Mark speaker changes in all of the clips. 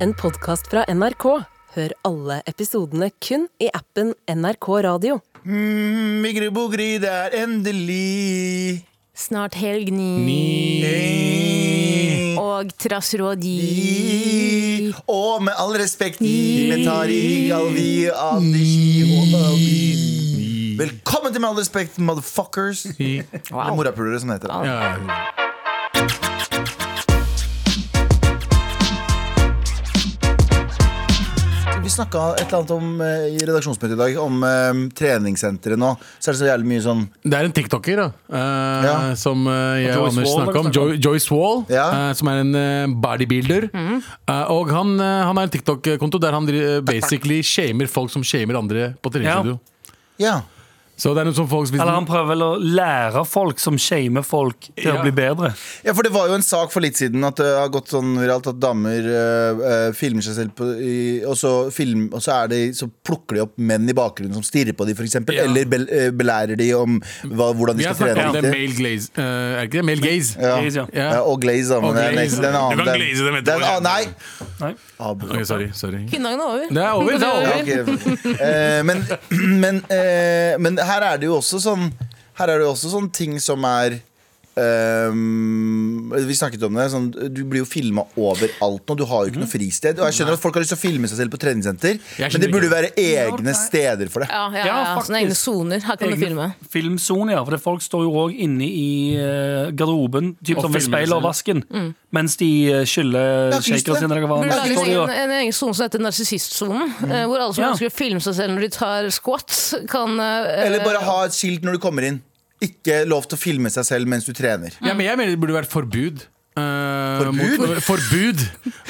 Speaker 1: en podkast fra NRK. Hør alle episodene kun i appen NRK Radio.
Speaker 2: Mm, Migri bogri, det er endelig
Speaker 3: Snart helg ni. Og trassrådi.
Speaker 2: I- Og med all respekt Med Tariq, Alvi, Adishi og Alvi Velkommen til Med all respekt, motherfuckers Eller morapulere som det heter
Speaker 3: Wow.
Speaker 4: Ja.
Speaker 2: Vi snakket et eller annet om eh, I redaksjonsmøtet i dag Om eh, treningssenteret nå Så er det så jævlig mye sånn
Speaker 4: Det er en tiktoker da, eh,
Speaker 2: Ja.
Speaker 4: som eh, jeg og
Speaker 5: Joyce
Speaker 4: Anders
Speaker 5: Wall,
Speaker 4: snakka om.
Speaker 5: har vi snakket
Speaker 4: Jo Joyce Wall,
Speaker 2: Ja.
Speaker 4: eh, som er en eh, bodybuilder.
Speaker 2: Mm.
Speaker 4: Eh, og han, eh, han har en TikTok-konto der han dri- eh, basically shamer folk som shamer andre på treningsstudio.
Speaker 2: Ja
Speaker 4: Så det er noe som folk spiser.
Speaker 5: Eller han prøver vel å lære folk som shamer folk, til
Speaker 4: Ja.
Speaker 5: å bli bedre.
Speaker 2: Ja, for det var jo en sak for litt siden at det har gått sånn viralt at damer eh, eh, filmer seg selv, på, i, og, så film, og så, er de, så plukker de opp menn i bakgrunnen som stirrer på dem, f.eks. eksempel
Speaker 4: Ja.
Speaker 2: Eller bel, eh, belærer de om hva, hvordan
Speaker 4: Vi
Speaker 2: de
Speaker 4: har
Speaker 2: skal
Speaker 4: snakket
Speaker 2: trene.
Speaker 4: om det
Speaker 2: riktig.
Speaker 4: male glaze. eh, er det ikke det? Male gaze.
Speaker 2: Ja.
Speaker 5: Glaze, ja.
Speaker 2: Ja, og glaze, da. Men
Speaker 4: Og
Speaker 2: det er
Speaker 4: glaze.
Speaker 2: next- det er en annen.
Speaker 4: Du kan
Speaker 2: den-
Speaker 4: glaze dem etterpå.
Speaker 2: den- ah, Nei!
Speaker 5: Nei.
Speaker 2: Abo.
Speaker 4: Ok, sorry, sorry.
Speaker 3: Kvinnedagen er over.
Speaker 4: Det er over, det er over.
Speaker 2: Ja, ok. Eh, men, men, eh, men her er det jo også sånn Her er det jo også sånn ting som er ehm, vi snakket om det sånn, Du blir jo filma overalt nå. Du har jo ikke noe fristed. Og jeg skjønner at folk har lyst til å filme seg selv på treningssenter,
Speaker 4: Jeg
Speaker 2: men det
Speaker 4: skjønner
Speaker 2: burde jo være
Speaker 5: Ja,
Speaker 2: egne
Speaker 5: nei.
Speaker 2: steder for det.
Speaker 3: Ja, ja, ja,
Speaker 5: Ja,
Speaker 3: Sånne egne
Speaker 5: faktisk.
Speaker 3: soner. Her kan du filme.
Speaker 5: Egne Filmsone, ja. For det folk står jo òg inne i eh, garderoben, typ
Speaker 4: Og
Speaker 5: som ved
Speaker 4: filmer
Speaker 5: speilet og vasken, mens de eh, skyller
Speaker 2: har ikke lyst til
Speaker 5: shakere sine. eller hva
Speaker 3: Mm.
Speaker 2: Nei,
Speaker 5: faen.
Speaker 3: Burde
Speaker 2: det
Speaker 5: Så
Speaker 3: lage en,
Speaker 5: står de
Speaker 3: egen-
Speaker 5: og-
Speaker 3: en egen sone som heter narsissistsonen. eh, Hvor alle som
Speaker 5: Ja.
Speaker 3: ønsker å filme seg selv når de tar squats, kan eh,
Speaker 2: Eller bare ha et skilt når du kommer inn. Ikke lov til å filme seg selv mens du trener.
Speaker 4: Ja, men jeg mener det burde vært forbud. eh,
Speaker 2: Forbud?
Speaker 4: Mot, forbud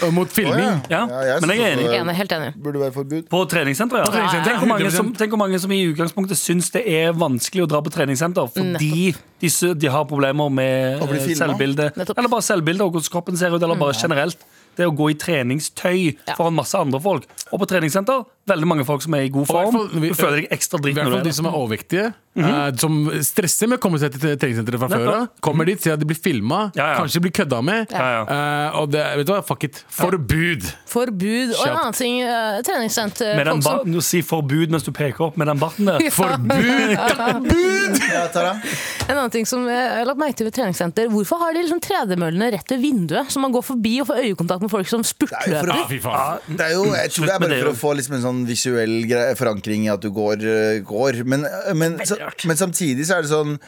Speaker 4: eh, mot filming.
Speaker 2: Å, ja.
Speaker 5: Ja, men jeg er
Speaker 2: synes
Speaker 5: enig.
Speaker 2: det
Speaker 3: Enig, helt enig.
Speaker 2: Burde være forbud.
Speaker 5: På treningssenteret, ja.
Speaker 4: På treningssenteret,
Speaker 5: Tenk, hvor mange som,
Speaker 4: 100%.
Speaker 5: tenk hvor mange som i utgangspunktet syns det er vanskelig å dra på treningssenter fordi de, sy- de har problemer med
Speaker 2: Å bli
Speaker 5: eh,
Speaker 2: filmet.
Speaker 5: selvbilde.
Speaker 3: Nettopp.
Speaker 5: Eller bare selvbilde og hvordan kroppen ser ut, eller
Speaker 4: Mm.
Speaker 5: bare generelt. Det å gå i treningstøy
Speaker 3: Ja.
Speaker 5: foran masse andre folk. Og på treningssenter, veldig mange folk som er i god
Speaker 4: Og i hvert
Speaker 5: form.
Speaker 4: fall- vi-
Speaker 5: Du føler deg ekstra
Speaker 4: I
Speaker 5: dritt
Speaker 4: hvert
Speaker 5: når
Speaker 4: fall
Speaker 5: du
Speaker 4: de
Speaker 5: er der.
Speaker 4: som er overvektige, eh, som stresser med å komme seg til treningssenteret fra før av. Kommer dit, ser at de blir filma,
Speaker 5: Ja, ja.
Speaker 4: kanskje de blir kødda med.
Speaker 5: Ja,
Speaker 4: eh, og det, vet du hva, fuck it. Forbud!
Speaker 3: Forbud og en
Speaker 4: Kjapt.
Speaker 3: annen ting. eh, treningssenter.
Speaker 5: Med den
Speaker 3: folk som-
Speaker 5: barten, du sier forbud mens du peker opp med den barten der.
Speaker 4: Forbud!
Speaker 2: Ja, Tara?
Speaker 3: En annen ting som eh, jeg har lagt merke til ved treningssenter Hvorfor har de liksom tredemøllene rett ved vinduet, så man går forbi og får øyekontakt med folk som
Speaker 2: Det er jo for-
Speaker 3: spurtløper?
Speaker 4: Ja, fy faen.
Speaker 2: Det er jo, jeg tror
Speaker 5: Slutt
Speaker 2: det er
Speaker 5: med
Speaker 2: bare
Speaker 5: det,
Speaker 2: for å
Speaker 5: jo.
Speaker 2: få liksom en sånn visuell gre- forankring i at du går. øh, går. Men, men, så,
Speaker 5: rart.
Speaker 2: men samtidig så er det sånn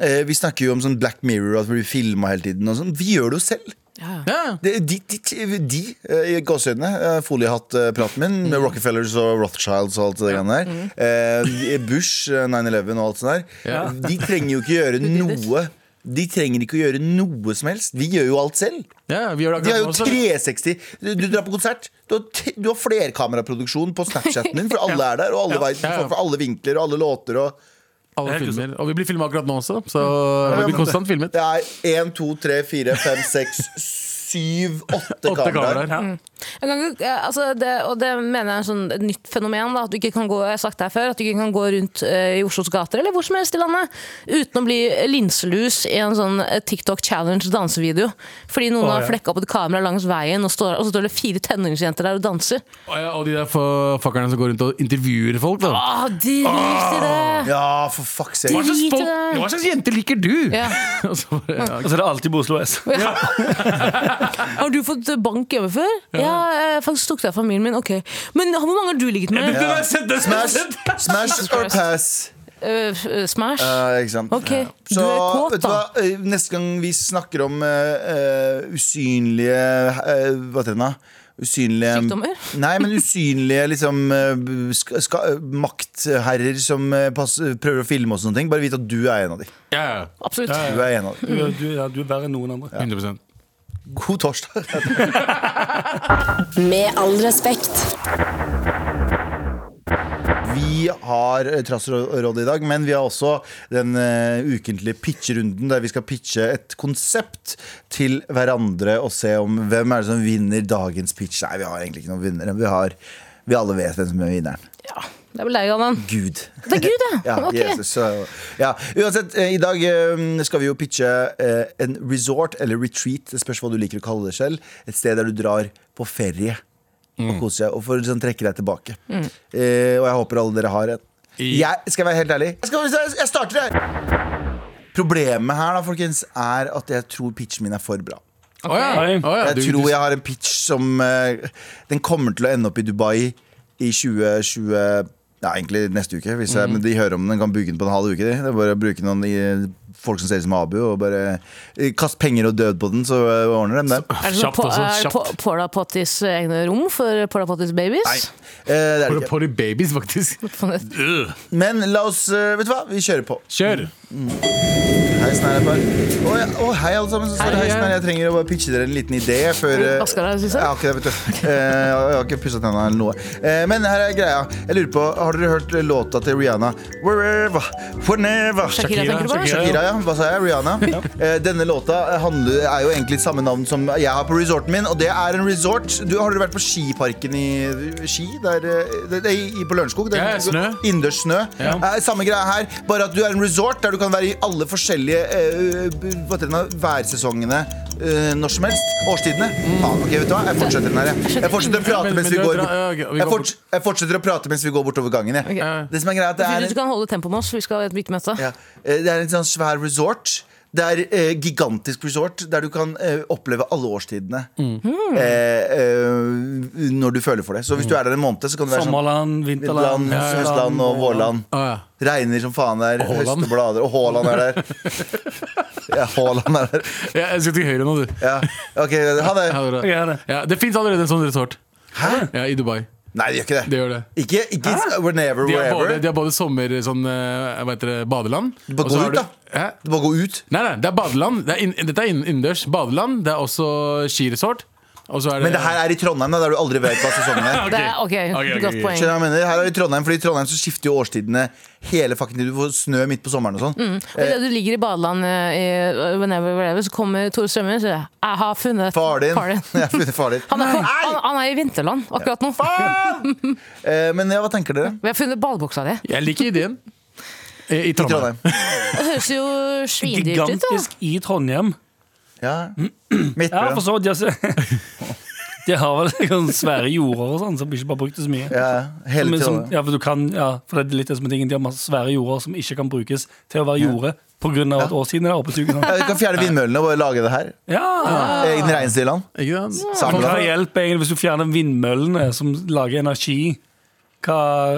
Speaker 2: eh, Vi snakker jo om sånn Black Mirror, at vi blir filma hele tiden. Og sånn. Vi gjør det jo selv.
Speaker 4: Ja.
Speaker 2: Det, de, de, de, de eh, i gåseøynene, eh, foliehattpraten min
Speaker 5: Mm.
Speaker 2: med Rockefellers og Rothschilds og alt det greiene der, eh, Bush, eh, 9-11 og alt sånt der,
Speaker 4: Ja.
Speaker 2: de trenger jo ikke gjøre noe. De trenger ikke å gjøre noe som helst. Vi gjør jo alt selv.
Speaker 4: Ja, vi gjør det
Speaker 2: De har
Speaker 4: akkurat
Speaker 2: jo
Speaker 4: nå også.
Speaker 2: 360 Du, du drar på konsert Du har, t- du har flerkameraproduksjon på Snapchaten din For alle er der, og alle vet
Speaker 4: Ja, ja.
Speaker 2: For alle vinkler og alle låter og
Speaker 4: Alle
Speaker 5: Helt
Speaker 4: filmer. Og vi blir filma akkurat nå også, så vi
Speaker 2: men-
Speaker 4: blir konstant filmet.
Speaker 2: Det er 1, 2, 3, 4, 5, 6, 7, 8
Speaker 4: Åtte
Speaker 2: kameraer
Speaker 4: kameraer.
Speaker 5: Mm.
Speaker 3: Jeg kan ikke, eh, altså det, og det mener jeg er sånn et nytt fenomen. Da, at du ikke kan gå jeg har sagt det her før, at du ikke kan gå rundt eh, i Oslos gater eller hvor som helst i landet uten å bli linselus i en sånn eh, TikTok challenge dansevideo. Fordi noen
Speaker 5: Å,
Speaker 3: har
Speaker 5: ja.
Speaker 3: flekka opp et kamera langs veien, og, står, og så står det fire tenåringsjenter der og danser.
Speaker 4: Og, ja, og de der fu- fuckerne som går rundt og intervjuer folk, da.
Speaker 3: Å, drit i det!
Speaker 2: Ja, for fuck's
Speaker 4: Hva
Speaker 2: sake
Speaker 4: slags,
Speaker 3: drit i
Speaker 4: folk,
Speaker 3: det.
Speaker 4: hva slags jenter liker du?
Speaker 3: Ja.
Speaker 4: Og så bare, ja,
Speaker 5: Og så er det alltid på Oslo S.
Speaker 3: Har du fått bank hjemme før? Ja, jeg faktisk tok det av familien min. Ok. Men hvor mange har du ligget med?
Speaker 4: Det der sendte-
Speaker 2: Smash, smash or pass
Speaker 3: Eh, Smash?
Speaker 2: Ja, ikke sant
Speaker 3: Ok, du
Speaker 2: Så
Speaker 3: er kåt,
Speaker 2: vet du hva Eh, Neste gang vi snakker om eh, eh, Usynlige eh, Hva heter det da? Usynlige
Speaker 3: Sykdommer?
Speaker 2: Nei, men usynlige liksom, eh, ska, ska, maktherrer som eh, pass, prøver å filme oss og sånne ting. Bare vite at du er en av dem.
Speaker 4: ja, ja.
Speaker 3: Absolutt.
Speaker 2: Du er en av dem.
Speaker 5: Du, du, ja, du er verre enn noen andre.
Speaker 4: 100
Speaker 2: God torsdag.
Speaker 1: Med all respekt.
Speaker 2: Vi har eh, Trassrådet i dag, men vi har også den eh, ukentlige pitcherunden der vi skal pitche et konsept til hverandre og se om hvem er det som vinner dagens pitch. Nei, vi har egentlig ikke noen vinnere. Vi, har, vi alle vet hvem som er vinneren.
Speaker 3: Ja, det er vel deg, Galvan.
Speaker 2: Gud.
Speaker 3: Det er Gud, ja.
Speaker 2: Ja,
Speaker 3: Ok.
Speaker 2: Jesus, så, ja. Uansett, eh, i dag eh, skal vi jo pitche eh, en resort eller retreat, det spørs hva du liker å kalle det selv. Et sted der du drar på ferie. og kose seg. Og for å liksom trekke deg tilbake.
Speaker 3: Mm.
Speaker 2: Eh, og jeg håper alle dere har en. Jeg skal jeg være helt ærlig. Jeg, skal, jeg starter, jeg! Problemet her da, folkens, er at jeg tror pitchen min er for bra.
Speaker 4: Å ja. Å ja, du-
Speaker 2: Jeg tror jeg har en pitch som eh, Den kommer til å ende opp i Dubai i 2020 ja, egentlig neste uke, hvis
Speaker 4: Mhm.
Speaker 2: jeg, men de hører om den. Kan bygge den på en halv uke. De. Det er bare å bruke noen i- folk som ser ut som Abu, og bare eh, kast penger og død på den, så eh, ordner de det.
Speaker 3: Er det sånn
Speaker 4: Kjapt
Speaker 3: po-
Speaker 4: også,
Speaker 3: er det po-
Speaker 4: kjapt.
Speaker 3: Porta Potties egne rom for Porta Potties
Speaker 2: Nei,
Speaker 3: Babies?
Speaker 2: eh, det er
Speaker 4: For
Speaker 2: det ikke.
Speaker 4: Potty babies, faktisk. Øh.
Speaker 2: Men la oss eh, Vet du hva, vi kjører på. Mm.
Speaker 4: Kjør!
Speaker 2: Heisen er her bare. Å, ja. Å, hei, alle sammen. Så står det
Speaker 4: Hei,
Speaker 2: heisen her.
Speaker 4: hei.
Speaker 2: Jeg trenger å bare pitche dere en liten idé før eh,
Speaker 3: Vasker deg, synes jeg.
Speaker 2: Jeg har ikke det, vet du. Eh, Jeg har ikke pussa tennene eller noe. Eh, Men her er greia. Jeg lurer på, Har dere hørt låta til Rihanna? Wherever, whenever
Speaker 3: Shakira, tenker du på?
Speaker 4: Shakira.
Speaker 2: Shakira, ja. Hva sa jeg? Rihanna. Eh, denne låta handler, er jo egentlig samme navn som jeg har på resorten min, og det er en resort. Du, har dere vært på skiparken i Ski? Der, eh, det, det, i, på Lørenskog? Der-
Speaker 4: Ja, snø.
Speaker 2: Innendørs snø. Eh, samme greia her, bare at du er en resort der du kan være i alle forskjellige eh, b- hva heter det nå? værsesongene. eh, når som helst. Årstidene. Faen, ok, vet du hva? Jeg fortsetter den her, jeg. Jeg fortsetter å prate
Speaker 4: Men-
Speaker 2: mens
Speaker 4: men
Speaker 2: vi
Speaker 4: du
Speaker 2: går
Speaker 4: drar-
Speaker 2: bort.
Speaker 4: ja, ok, vi går
Speaker 2: Jeg,
Speaker 4: bort.
Speaker 2: forts- jeg fortsetter å prate mens vi går bortover gangen, jeg.
Speaker 3: Ok.
Speaker 2: Det som er greia, er at det
Speaker 3: Fint
Speaker 2: er
Speaker 3: at du kan holde tempo med oss, for vi skal ha et byttemøte.
Speaker 2: ja. Eh, Det er en sånn svær resort. Det er eh, gigantisk resort der du kan eh, oppleve alle årstidene.
Speaker 4: Mm.
Speaker 2: Eh, eh, når du føler for det. Så hvis du er der en måned, så kan det være sånn
Speaker 5: Sommerland,
Speaker 2: Midtland,
Speaker 5: vinterland,
Speaker 2: Sørland og Vårland.
Speaker 4: Å, ja.
Speaker 2: Regner som faen der.
Speaker 4: Haaland.
Speaker 2: Høster blader. Og Haaland er der. ja, Haaland er der.
Speaker 4: Ja, jeg skal til høyre nå, du.
Speaker 2: Ja. Ok, ha det.
Speaker 4: Ja, det er bra.
Speaker 5: Ok, ha det.
Speaker 4: Ja, det fins allerede en sånn resort.
Speaker 2: Hæ?
Speaker 4: Ja, I Dubai.
Speaker 2: Nei, det gjør ikke
Speaker 4: Det
Speaker 2: det.
Speaker 4: gjør det.
Speaker 2: Ikke, ikke whenever,
Speaker 4: De har både,
Speaker 2: wherever.
Speaker 4: de har både sommer sånn, eh, hva heter det, badeland.
Speaker 2: Bare
Speaker 4: og så
Speaker 2: gå
Speaker 4: har
Speaker 2: ut,
Speaker 4: du-
Speaker 2: da.
Speaker 4: Hæ?
Speaker 2: Du bare gå ut.
Speaker 4: Nei, nei, det er badeland. Det er inn- dette er inn- innendørs. Badeland. Det er også skiresort. Og så er det,
Speaker 2: Men det her er i Trondheim, da, der du aldri vet hva sesongen er.
Speaker 3: Det er, ok,
Speaker 4: ok, ok.
Speaker 3: Godt
Speaker 2: Skjønner
Speaker 3: poeng.
Speaker 2: du hva jeg mener? Her er det i Trondheim, fordi i Trondheim så skifter jo årstidene hele fucking tiden. Du får snø midt på sommeren og sånn.
Speaker 3: Og Idet du ligger i badeland eh, i Whenever Wherever, så kommer Tore Strømmen og sier 'Jeg har funnet
Speaker 2: Far din.
Speaker 3: faren din'.
Speaker 2: Jeg har funnet far din.
Speaker 3: Han er,
Speaker 2: Nei!
Speaker 3: han, han er i vinterland akkurat nå.
Speaker 2: Eh, Men ja, hva tenker dere?
Speaker 3: Vi har funnet ballbuksa di.
Speaker 4: Jeg liker ideen. I, i
Speaker 2: I
Speaker 4: Trondheim.
Speaker 2: Trondheim.
Speaker 3: Det høres jo svindyrt ut. da.
Speaker 5: Gigantisk i Trondheim.
Speaker 2: Ja. Midt
Speaker 5: Ja,
Speaker 2: på
Speaker 5: for
Speaker 2: den.
Speaker 5: så vidt. De har, de har vel sånn svære jorder og sånn, som ikke bare brukte så mye.
Speaker 2: Ja, hele
Speaker 5: Men som,
Speaker 2: Trondheim.
Speaker 5: ja, for, du kan, ja, for det er litt det som er tingen De har masse svære jorder som ikke kan brukes til å være jorde pga. at årstiden er åpensugen.
Speaker 2: Ja, vi kan fjerne vindmøllene og bare lage det her.
Speaker 5: Ja.
Speaker 3: Ah.
Speaker 2: Egen reinsdyrland.
Speaker 4: Ikke sant?
Speaker 2: Samla.
Speaker 5: Hva hjelper egentlig hvis du fjerner vindmøllene som lager energi? Hva,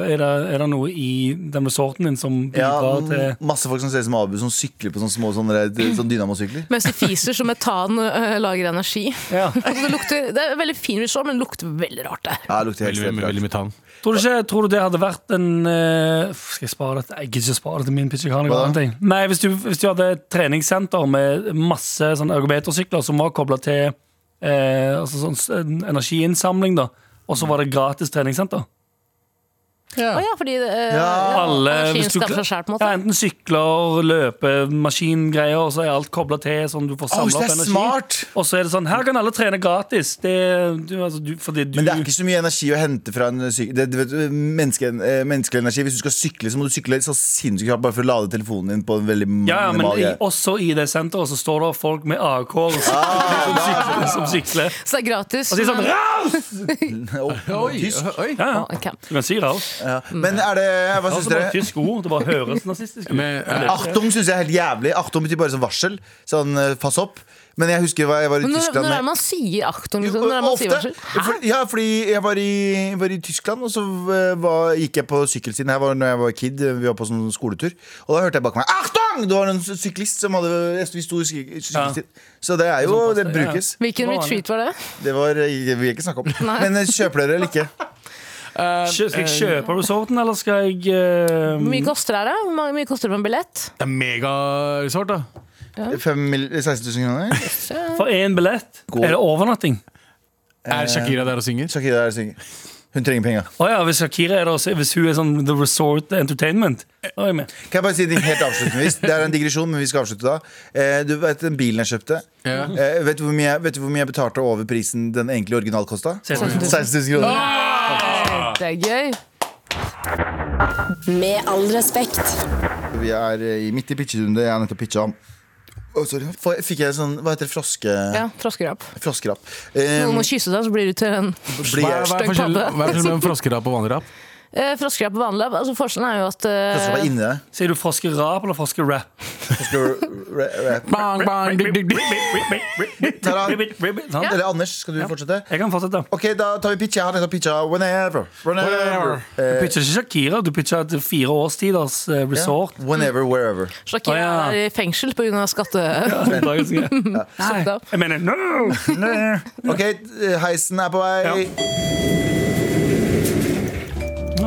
Speaker 5: er, det, er det noe i den resorten din som
Speaker 2: Ja, mm.
Speaker 5: bidrar til
Speaker 2: masse folk som ser ut som Abu, som sykler på sånne små sånne, sånn dynamosykler.
Speaker 3: Mens de fiser, så metan eh, lager energi.
Speaker 5: ja.
Speaker 3: Altså, det, lukter, det er en veldig fin resort, men det lukter veldig rart der.
Speaker 2: Ja, det lukter helt
Speaker 4: Veldig, veldig, veldig
Speaker 2: strømt.
Speaker 4: metan.
Speaker 5: tror, du ikke, tror du det hadde vært en eh, Skal jeg spare dette? Jeg gidder ikke spare det til min pitch. jeg kan ikke
Speaker 2: Hva da?
Speaker 5: gjøre noe. Nei, hvis du, hvis du hadde et treningssenter med masse sånn ergometersykler som var kobla til eh, altså sånn s- en energiinnsamling, da, og så var det gratis treningssenter.
Speaker 3: Å ja, fordi eh,
Speaker 2: Ja,
Speaker 5: alle,
Speaker 3: energien
Speaker 5: hvis du
Speaker 3: skaper
Speaker 5: kla-
Speaker 3: seg selv, på en
Speaker 5: Ja,
Speaker 3: måte.
Speaker 5: enten sykler, løpe, maskingreier, og så er alt kobla til, sånn du får
Speaker 2: Å,
Speaker 5: samla
Speaker 2: det
Speaker 5: opp
Speaker 2: er
Speaker 5: energi.
Speaker 2: smart!
Speaker 5: Og så er det sånn, her kan alle trene gratis. Det, du, altså, du, fordi du
Speaker 2: Men det er ikke så mye energi å hente fra en syk... det, du vet, menneske, eh, menneskelig energi. Hvis du skal sykle, så må du sykle så sinnssykt hardt bare for å lade telefonen din på en veldig
Speaker 5: ja, ja, men
Speaker 2: minimal
Speaker 5: i,
Speaker 2: greie.
Speaker 5: også i det senteret så står det folk med AK og så- som sykler. Som sykler.
Speaker 3: Så det er
Speaker 5: Og
Speaker 3: gratis.
Speaker 5: så er det sånn,
Speaker 3: men-
Speaker 5: Raus!
Speaker 2: Oh,
Speaker 4: Oi,
Speaker 2: tysk.
Speaker 4: oi.
Speaker 5: Ja, ja.
Speaker 3: Å, ok.
Speaker 5: Du kan si Raus. Det
Speaker 2: Ja.
Speaker 3: Mm.
Speaker 2: Men er det Hva
Speaker 5: er
Speaker 2: syns
Speaker 5: også bare
Speaker 2: dere?
Speaker 5: et tysk ord. Det bare høres nazistisk ut.
Speaker 4: Men, eh,
Speaker 2: Achtung syns jeg er helt jævlig. Achtung betyr bare sånn varsel. Sånn eh, pass opp. Men jeg husker hva jeg var i
Speaker 3: Men når, når
Speaker 2: Tyskland
Speaker 3: er det
Speaker 2: med.
Speaker 3: man sier aktum? Liksom?
Speaker 2: Jo,
Speaker 3: Når er det man
Speaker 2: ofte.
Speaker 3: sier varsel?
Speaker 2: For, ja, fordi jeg var i, var i Tyskland, og så eh, var, gikk jeg på sykkelsiden. Her var når jeg var kid. Vi var på sånn skoletur. Og da hørte jeg bak meg Achtung! Det var en syklist som hadde Vi sto i syk- sykkelsiden. Så det er jo
Speaker 5: Sånn passer,
Speaker 2: Det
Speaker 5: ja.
Speaker 2: brukes.
Speaker 3: Hvilken
Speaker 5: Hva var det?
Speaker 3: retreat var det?
Speaker 2: Det var Vi vil ikke snakke om
Speaker 3: Nei.
Speaker 2: Men eh, kjøper dere eller ikke?
Speaker 4: eh,
Speaker 5: Kjø- Skal jeg kjøpe resorten, eller skal jeg eh,
Speaker 3: Hvor
Speaker 2: Mm.
Speaker 3: mye koster det? her, da? Hvor mange- mye koster det på en billett?
Speaker 4: Det er megaresort, da.
Speaker 2: Fem mil- 16 000 kroner?
Speaker 5: For én billett?
Speaker 2: God.
Speaker 5: Er det overnatting?
Speaker 4: Er Shakira der og synger?
Speaker 2: Shakira er synger. Hun trenger penger.
Speaker 5: Å ja, hvis Shakira er det også, hvis hun er sånn The Resort Entertainment da er jeg med.
Speaker 2: Kan jeg bare si en ting helt avslutningsvis? Det er en digresjon, men vi skal avslutte da. Eh, du vet den bilen jeg kjøpte?
Speaker 4: Ja.
Speaker 2: Eh, vet, du hvor mye, vet du hvor mye jeg betalte over prisen den egentlig originalt kosta?
Speaker 5: 16 000.
Speaker 2: 000 kroner.
Speaker 3: Det er gøy.
Speaker 1: Med all respekt.
Speaker 2: Vi er eh, i- midt i pitcherunde. Jeg har nettopp pitcha om Å, sorry. Får- Fikk jeg sånn Hva heter det? Froske...
Speaker 3: Ja, froskerap.
Speaker 2: Froskerapp. Eh,
Speaker 3: Noen må kysse deg, så blir du til en
Speaker 2: blir jeg
Speaker 4: Hva er hva er forskjellen
Speaker 3: Støkk
Speaker 4: hva er forskjellen mellom froskerap og vanlig rap?
Speaker 3: eh, froskerap og vanlig rap. Altså, forskjellen er jo at
Speaker 2: Froskerapp er
Speaker 3: eh,
Speaker 2: inni deg.
Speaker 5: Sier du froskerap eller froskerap?
Speaker 2: Frosker-
Speaker 4: Bang, bang, digg, digg, digg.
Speaker 2: Tara.
Speaker 5: Sant?
Speaker 2: Eller Anders, skal du fortsette?
Speaker 5: Jeg kan fortsette.
Speaker 2: Ok, da tar vi pitcha. Jeg har nettopp pitcha whenever. Eh, Whenever.
Speaker 5: Du pitcher ikke Shakira, du pitcher et fire årstiders eh, resort.
Speaker 2: Whenever, wherever.
Speaker 3: Shakira
Speaker 5: Å, ja.
Speaker 3: er i fengsel pga. skatte...
Speaker 5: Dagens greie.
Speaker 3: Nei.
Speaker 5: Jeg mener no!
Speaker 2: Ok, eh, heisen er på vei.
Speaker 5: Å,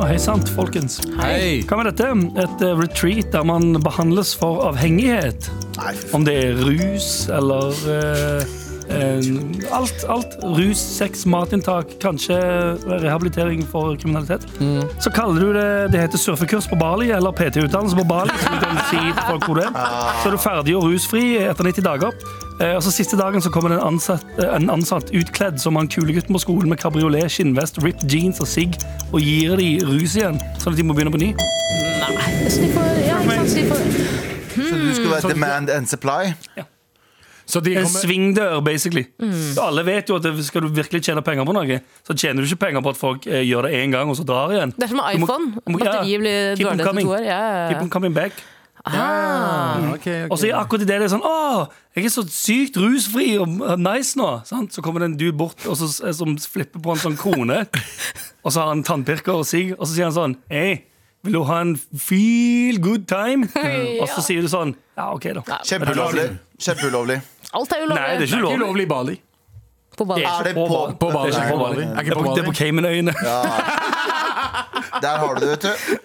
Speaker 5: Hei sant, folkens.
Speaker 4: Hei!
Speaker 5: Hva med dette? Et eh, retreat der man behandles for avhengighet.
Speaker 2: Nei, fy faen.
Speaker 5: Om det er rus eller eh, en- alt, alt. Rus, sex, matinntak, kanskje rehabilitering for kriminalitet.
Speaker 2: Mm.
Speaker 5: Så kaller du det det heter surfekurs på Bali eller PT-utdannelse på Bali. Så, du kan si til folk hvor det er. så er du ferdig og rusfri etter 90 dager. Eh, og så Siste dagen så kommer det en ansatt, eh, en ansatt utkledd som han kulegutten på skolen med kabriolet, skinnvest, ripped jeans og sigg, og gir de rus igjen, sånn at de må begynne på ny.
Speaker 3: Så de får, ja, ikke sant? Så de får,
Speaker 2: Så du skulle være demand and supply?
Speaker 4: Så de
Speaker 5: En
Speaker 4: kommer
Speaker 5: svingdør, basically. Så Alle vet jo at det- skal du virkelig tjene penger på noe, så tjener du ikke penger på at folk eh, gjør det én gang og så drar igjen.
Speaker 3: Det er som med
Speaker 5: Du må-
Speaker 3: iPhone.
Speaker 5: du må- ja,
Speaker 3: Batteriet blir
Speaker 5: keep 'em
Speaker 3: dårlig etter
Speaker 5: coming.
Speaker 3: to år. Ja, ja,
Speaker 5: Keep
Speaker 3: ja.
Speaker 5: on coming back.
Speaker 3: Ah.
Speaker 4: Ok, ok.
Speaker 5: Og så i akkurat idet det er sånn Å, jeg er så sykt rusfri og nice nå. Sant? Så kommer det en dude bort og så, eh, som flipper på en sånn krone. og så har han tannpirker og sigg, og så sier han sånn Hei, vil du ha en feel good time?
Speaker 3: Ja.
Speaker 5: Og så sier du sånn Ja, OK, da.
Speaker 2: Kjempeulovlig. Kjempeulovlig.
Speaker 3: Alt er
Speaker 5: Nei, det er ikke
Speaker 3: ulovlig
Speaker 4: Ikke
Speaker 5: ulovlig.
Speaker 4: ulovlig i Bali.
Speaker 3: på
Speaker 5: Det
Speaker 3: ballen.
Speaker 5: er
Speaker 2: Er det
Speaker 5: ikke på
Speaker 2: på-
Speaker 5: Bali.
Speaker 4: På Bali.
Speaker 5: Det er ikke på Bali.
Speaker 4: Er ikke på
Speaker 5: Det er
Speaker 4: Bali.
Speaker 5: på Caymanøyene.
Speaker 2: Der har du det, vet du.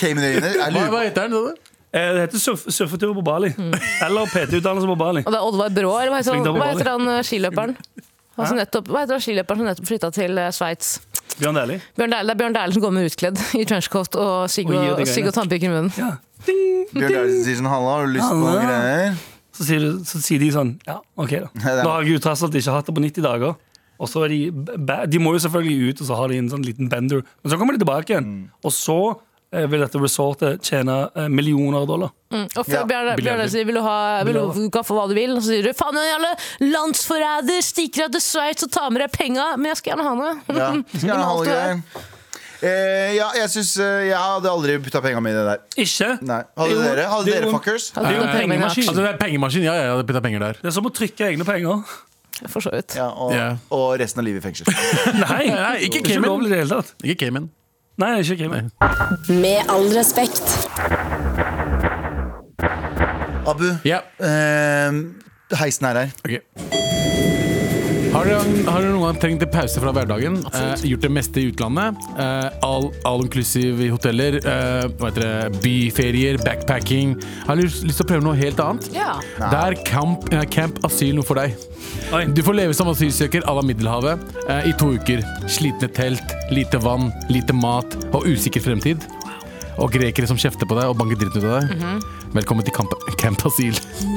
Speaker 2: Caymanøyene. Jeg
Speaker 4: Hva,
Speaker 2: lurer
Speaker 4: hva heter den? sa du?
Speaker 5: Eh, Det heter surf surfetur på Bali. Eller PT-utdannelse på Bali.
Speaker 3: Og det er Oddvar Brå, eller hva heter han,
Speaker 5: Svingdør på
Speaker 3: hva heter han eh, skiløperen? Han som nettopp, hva heter han skiløperen som nettopp flytta til eh, Sveits?
Speaker 5: Bjørn Dæhlie.
Speaker 3: Bjørn Dæhlie. Det er Bjørn Dæhlie som kommer utkledd i trenchcoat og sigg
Speaker 5: Og gir
Speaker 3: og,
Speaker 5: de
Speaker 3: sigg og tannpirker i munnen.
Speaker 5: Ja.
Speaker 2: på Bjørn Dæhlie sier sånn Halla, har du lyst på noen
Speaker 5: Halla.
Speaker 2: greier?
Speaker 5: Så, sier, du- så sier de sånn Ja, OK, da.
Speaker 2: Nei, det er-
Speaker 5: Nå har jeg jo tross alt ikke hatt det på 90 dager. Og så er de ba- De må jo selvfølgelig ut, og så har de en sånn liten bender. Men så kommer de tilbake
Speaker 2: Mm.
Speaker 5: igjen. Og så eh, vil dette resortet tjene eh, millioner av dollar.
Speaker 3: Mm. Og før
Speaker 2: Ja,
Speaker 3: Bjørn Bjørn
Speaker 4: biljarder.
Speaker 3: Dæhlie sier vil du, ha, vil
Speaker 5: Biljarder.
Speaker 3: du, du kan få hva du vil, og så sier du faen den jævla landsforræder, stikker av til Sveits og tar med deg penga, men jeg skal gjerne ha noe.
Speaker 2: Ja. Skal jeg ha noen greier? Eh, ja, jeg syns eh, Jeg hadde aldri putta penga mine i det der.
Speaker 5: Ikke?
Speaker 2: Nei. Hadde
Speaker 5: Jo,
Speaker 2: dere? Hadde
Speaker 5: det er
Speaker 2: dere,
Speaker 5: jo-
Speaker 2: fuckers?
Speaker 5: Det er jo en
Speaker 3: Nei.
Speaker 5: pengemaskin.
Speaker 4: Altså, det er pengemaskin. Ja, ja, jeg hadde putta penger der.
Speaker 5: Det er som å trykke egne penger.
Speaker 3: For så vidt.
Speaker 2: Ja, og,
Speaker 4: Ja.
Speaker 2: og resten av livet i fengsel.
Speaker 5: Nei,
Speaker 4: Nei, ikke
Speaker 5: det er ikke
Speaker 4: Cayman.
Speaker 5: ulovlig i det hele tatt.
Speaker 4: Ikke Cayman.
Speaker 5: Nei, ikke Cayman.
Speaker 1: Med all respekt.
Speaker 2: Abu,
Speaker 4: Ja,
Speaker 2: eh, heisen er her.
Speaker 4: ok har dere, har dere noen gang trengt en pause fra hverdagen? Eh, gjort det meste i utlandet? Eh, all, all inclusive i hoteller? Eh, hva heter det? Byferier? Backpacking? Har lyst, lyst til å prøve noe helt annet?
Speaker 3: Ja.
Speaker 4: Det er camp, eh, camp asyl noe for deg.
Speaker 5: Oi.
Speaker 4: Du får leve som asylsøker à la Middelhavet eh, i to uker. Slitne telt, lite vann, lite mat og usikker fremtid. Og grekere som kjefter på deg og banker dritten ut av deg. Velkommen til camp, camp asyl.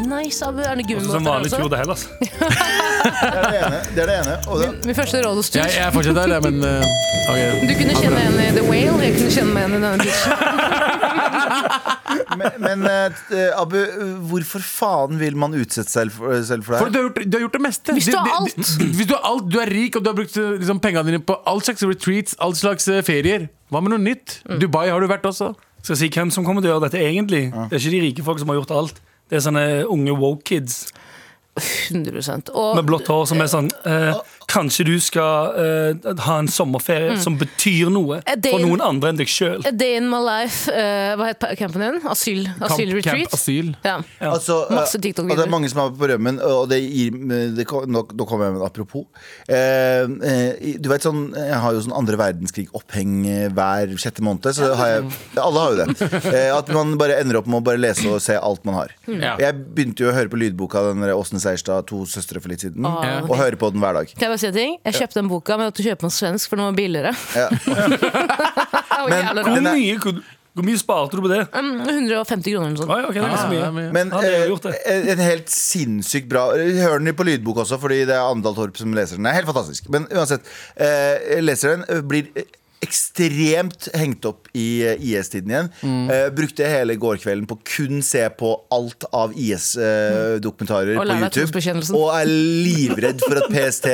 Speaker 3: Nice, Abu. Er det
Speaker 5: Som
Speaker 3: gummibåter
Speaker 5: vanlig
Speaker 3: også?
Speaker 5: Fjord Hellas.
Speaker 2: Det er det ene. Det er det ene. Og det,
Speaker 3: Min første
Speaker 4: Jeg,
Speaker 3: rådhustur.
Speaker 4: jeg fortsetter der, men eh, ok.
Speaker 3: Du kunne
Speaker 4: Ha det
Speaker 3: kjenne
Speaker 4: bra.
Speaker 3: henne i The Whale, jeg kunne kjenne meg igjen i denne bitchen.
Speaker 2: men men eh, t- eh, Abu, eh, hvorfor faen vil man utsette selv for, selv for
Speaker 4: For
Speaker 2: det her?
Speaker 4: du har, gjort, du har gjort det meste.
Speaker 3: Hvis du har
Speaker 4: Det- det- Hvis du har alt, du er rik og du har brukt eh, liksom, pengene dine på all slags retreats, all slags eh, ferier. Hva med noe nytt? Dubai har du vært også.
Speaker 5: Skal jeg si hvem som kommer til å gjøre dette egentlig? Det er ikke de rike folk som har gjort alt. Det er sånne unge woke kids
Speaker 3: 100
Speaker 5: med
Speaker 3: Og
Speaker 5: blått hår som er sånn eh, Kanskje du skal eh, ha en sommerferie som betyr noe
Speaker 3: Eh, det- Eh,
Speaker 5: for noen andre enn deg sjøl.
Speaker 3: A Day In My Life, eh, hva het campen din? Asyl, asyl
Speaker 4: Camp, camp
Speaker 3: Retreat?
Speaker 4: asyl.
Speaker 3: Ja.
Speaker 2: Altså, eh,
Speaker 3: Masse TikTok-videoer.
Speaker 2: og det er mange som er på rømmen, og det gir det, kom- Nå, nå kommer jeg med en apropos. Eh, eh, du vet sånn, Jeg har jo sånn andre verdenskrig-oppheng eh, hver sjette måned. Så har jeg, alle har jo det. Eh, at man bare ender opp med å bare lese og se alt man har.
Speaker 4: Ja.
Speaker 2: Jeg begynte jo å høre på lydboka den der Åsne Seierstad, To søstre for litt siden.
Speaker 3: Ah.
Speaker 2: Og høre på den hver dag.
Speaker 3: Kan jeg bare si en ting? Jeg kjøpte den boka, men jeg måtte kjøpe den svensk, for den var billigere.
Speaker 2: Ja.
Speaker 3: Og
Speaker 2: Men-
Speaker 3: jævla
Speaker 5: Hvor
Speaker 3: rar.
Speaker 2: Den er-
Speaker 5: mye, hvor, hvor mye sparte du på det?
Speaker 3: Mm, 150 kroner eller noe sånt.
Speaker 5: Oi, ok, det er ikke så
Speaker 4: Ah, Ja,
Speaker 5: mye.
Speaker 4: men-
Speaker 2: Men
Speaker 5: Ja, det har jeg
Speaker 2: eh,
Speaker 5: gjort det.
Speaker 2: en en helt sinnssykt bra Hør den på lydbok også, fordi det er Andal Torp som leser den. Det er helt fantastisk. Men uansett, eh, jeg leser den, eh, blir ekstremt hengt opp i eh, IS-tiden igjen. Eh, brukte hele gårdkvelden på kun se på alt av IS-dokumentarer på
Speaker 3: Og lære deg
Speaker 2: YouTube.
Speaker 3: trosbekjennelsen.
Speaker 2: Og er livredd for at PST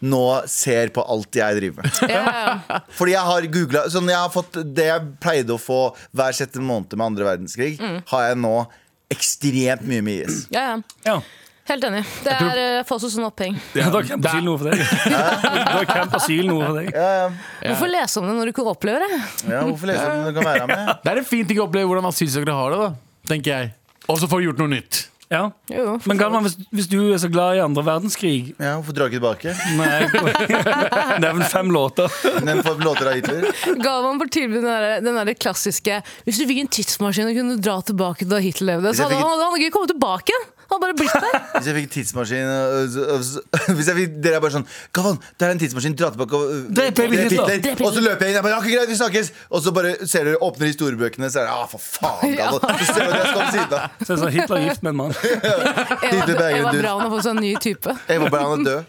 Speaker 2: nå ser på alt jeg driver med.
Speaker 3: Ja, ja.
Speaker 2: Fordi jeg har googlet sånn, Jeg har fått det jeg pleide å få hver sjette måned med andre verdenskrig, har jeg nå ekstremt mye med IS.
Speaker 3: ja, ja.
Speaker 5: Ja.
Speaker 3: Helt enig. Det er eh, falsk og sånn oppheng.
Speaker 5: Ja, da kan asyl noe for deg. Da kan asyl noe for deg.
Speaker 2: Ja, ja.
Speaker 3: Hvorfor lese om det når du ikke opplever det?
Speaker 2: ja hvorfor lese om det kan være med?
Speaker 4: Det er en fin ting å oppleve hvordan asylsøkere har det, da tenker jeg. Og så får du gjort noe nytt.
Speaker 5: Ja.
Speaker 3: Jo,
Speaker 5: Men
Speaker 3: for så vidt.
Speaker 5: Galvan, hvis, hvis du er så glad i andre verdenskrig
Speaker 2: Ja, hvorfor dra ikke tilbake?
Speaker 5: Nei, nevn fem låter.
Speaker 2: Nevn for låter av Hitler.
Speaker 3: Ga man på tilbud den, der- den der klassiske Hvis du fikk en tidsmaskin og kunne dra tilbake da Hitler levde,
Speaker 2: Hvis jeg
Speaker 3: så hadde
Speaker 2: fikk-
Speaker 3: han, han hadde ikke kommet tilbake. Han hadde bare blitt der.
Speaker 2: Hvis jeg fikk tidsmaskin øh, øh, øh, Hvis jeg fikk, Dere er bare sånn Gavan, der er en tidsmaskin, dra tilbake og øh,
Speaker 5: Drep Hitler.
Speaker 3: Drep
Speaker 2: Og så løper jeg inn, jeg bare, ja, ikke greit, vi snakkes Og så bare ser dere, åpner historiebøkene Så er det, ah, for faen, Gavan Så ser dere at jeg står ved siden av
Speaker 5: Så jeg sa Hitler er gift med en mann.
Speaker 2: Hitler
Speaker 3: Eva,
Speaker 2: Bergen,
Speaker 3: Eva
Speaker 2: du-
Speaker 3: Braun har fått seg en ny type.
Speaker 2: Eva Braun er død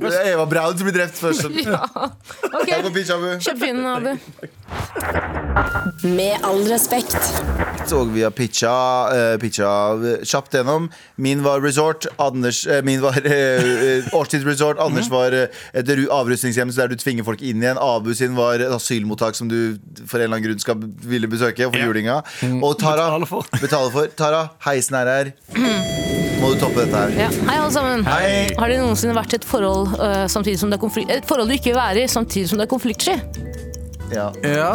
Speaker 2: Det er Eva Braun som blir drept først
Speaker 3: Ok,
Speaker 2: Takk og pysjabu
Speaker 3: Kjøp vinen, Abu.
Speaker 1: Med all respekt.
Speaker 2: Og vi har pitcha, eh, pitcha eh, kjapt gjennom. Min var resort, Anders, eh, min var eh, eh, årstidsresort. Anders var eh, et ru- avrustningshjem så der du tvinger folk inn igjen. Abu sin var et asylmottak som du for en eller annen grunn skal ville besøke for julinga. Og Tara
Speaker 5: Betale for.
Speaker 2: betaler for. Tara, heisen er her. Må du toppe dette her.
Speaker 3: Ja. Hei, alle sammen.
Speaker 2: Hei.
Speaker 3: Har det noensinne vært et forhold, eh, samtidig som det er konflik et forhold du ikke vil være i, samtidig som det er konfliktsky?
Speaker 2: Ja,
Speaker 4: Ja.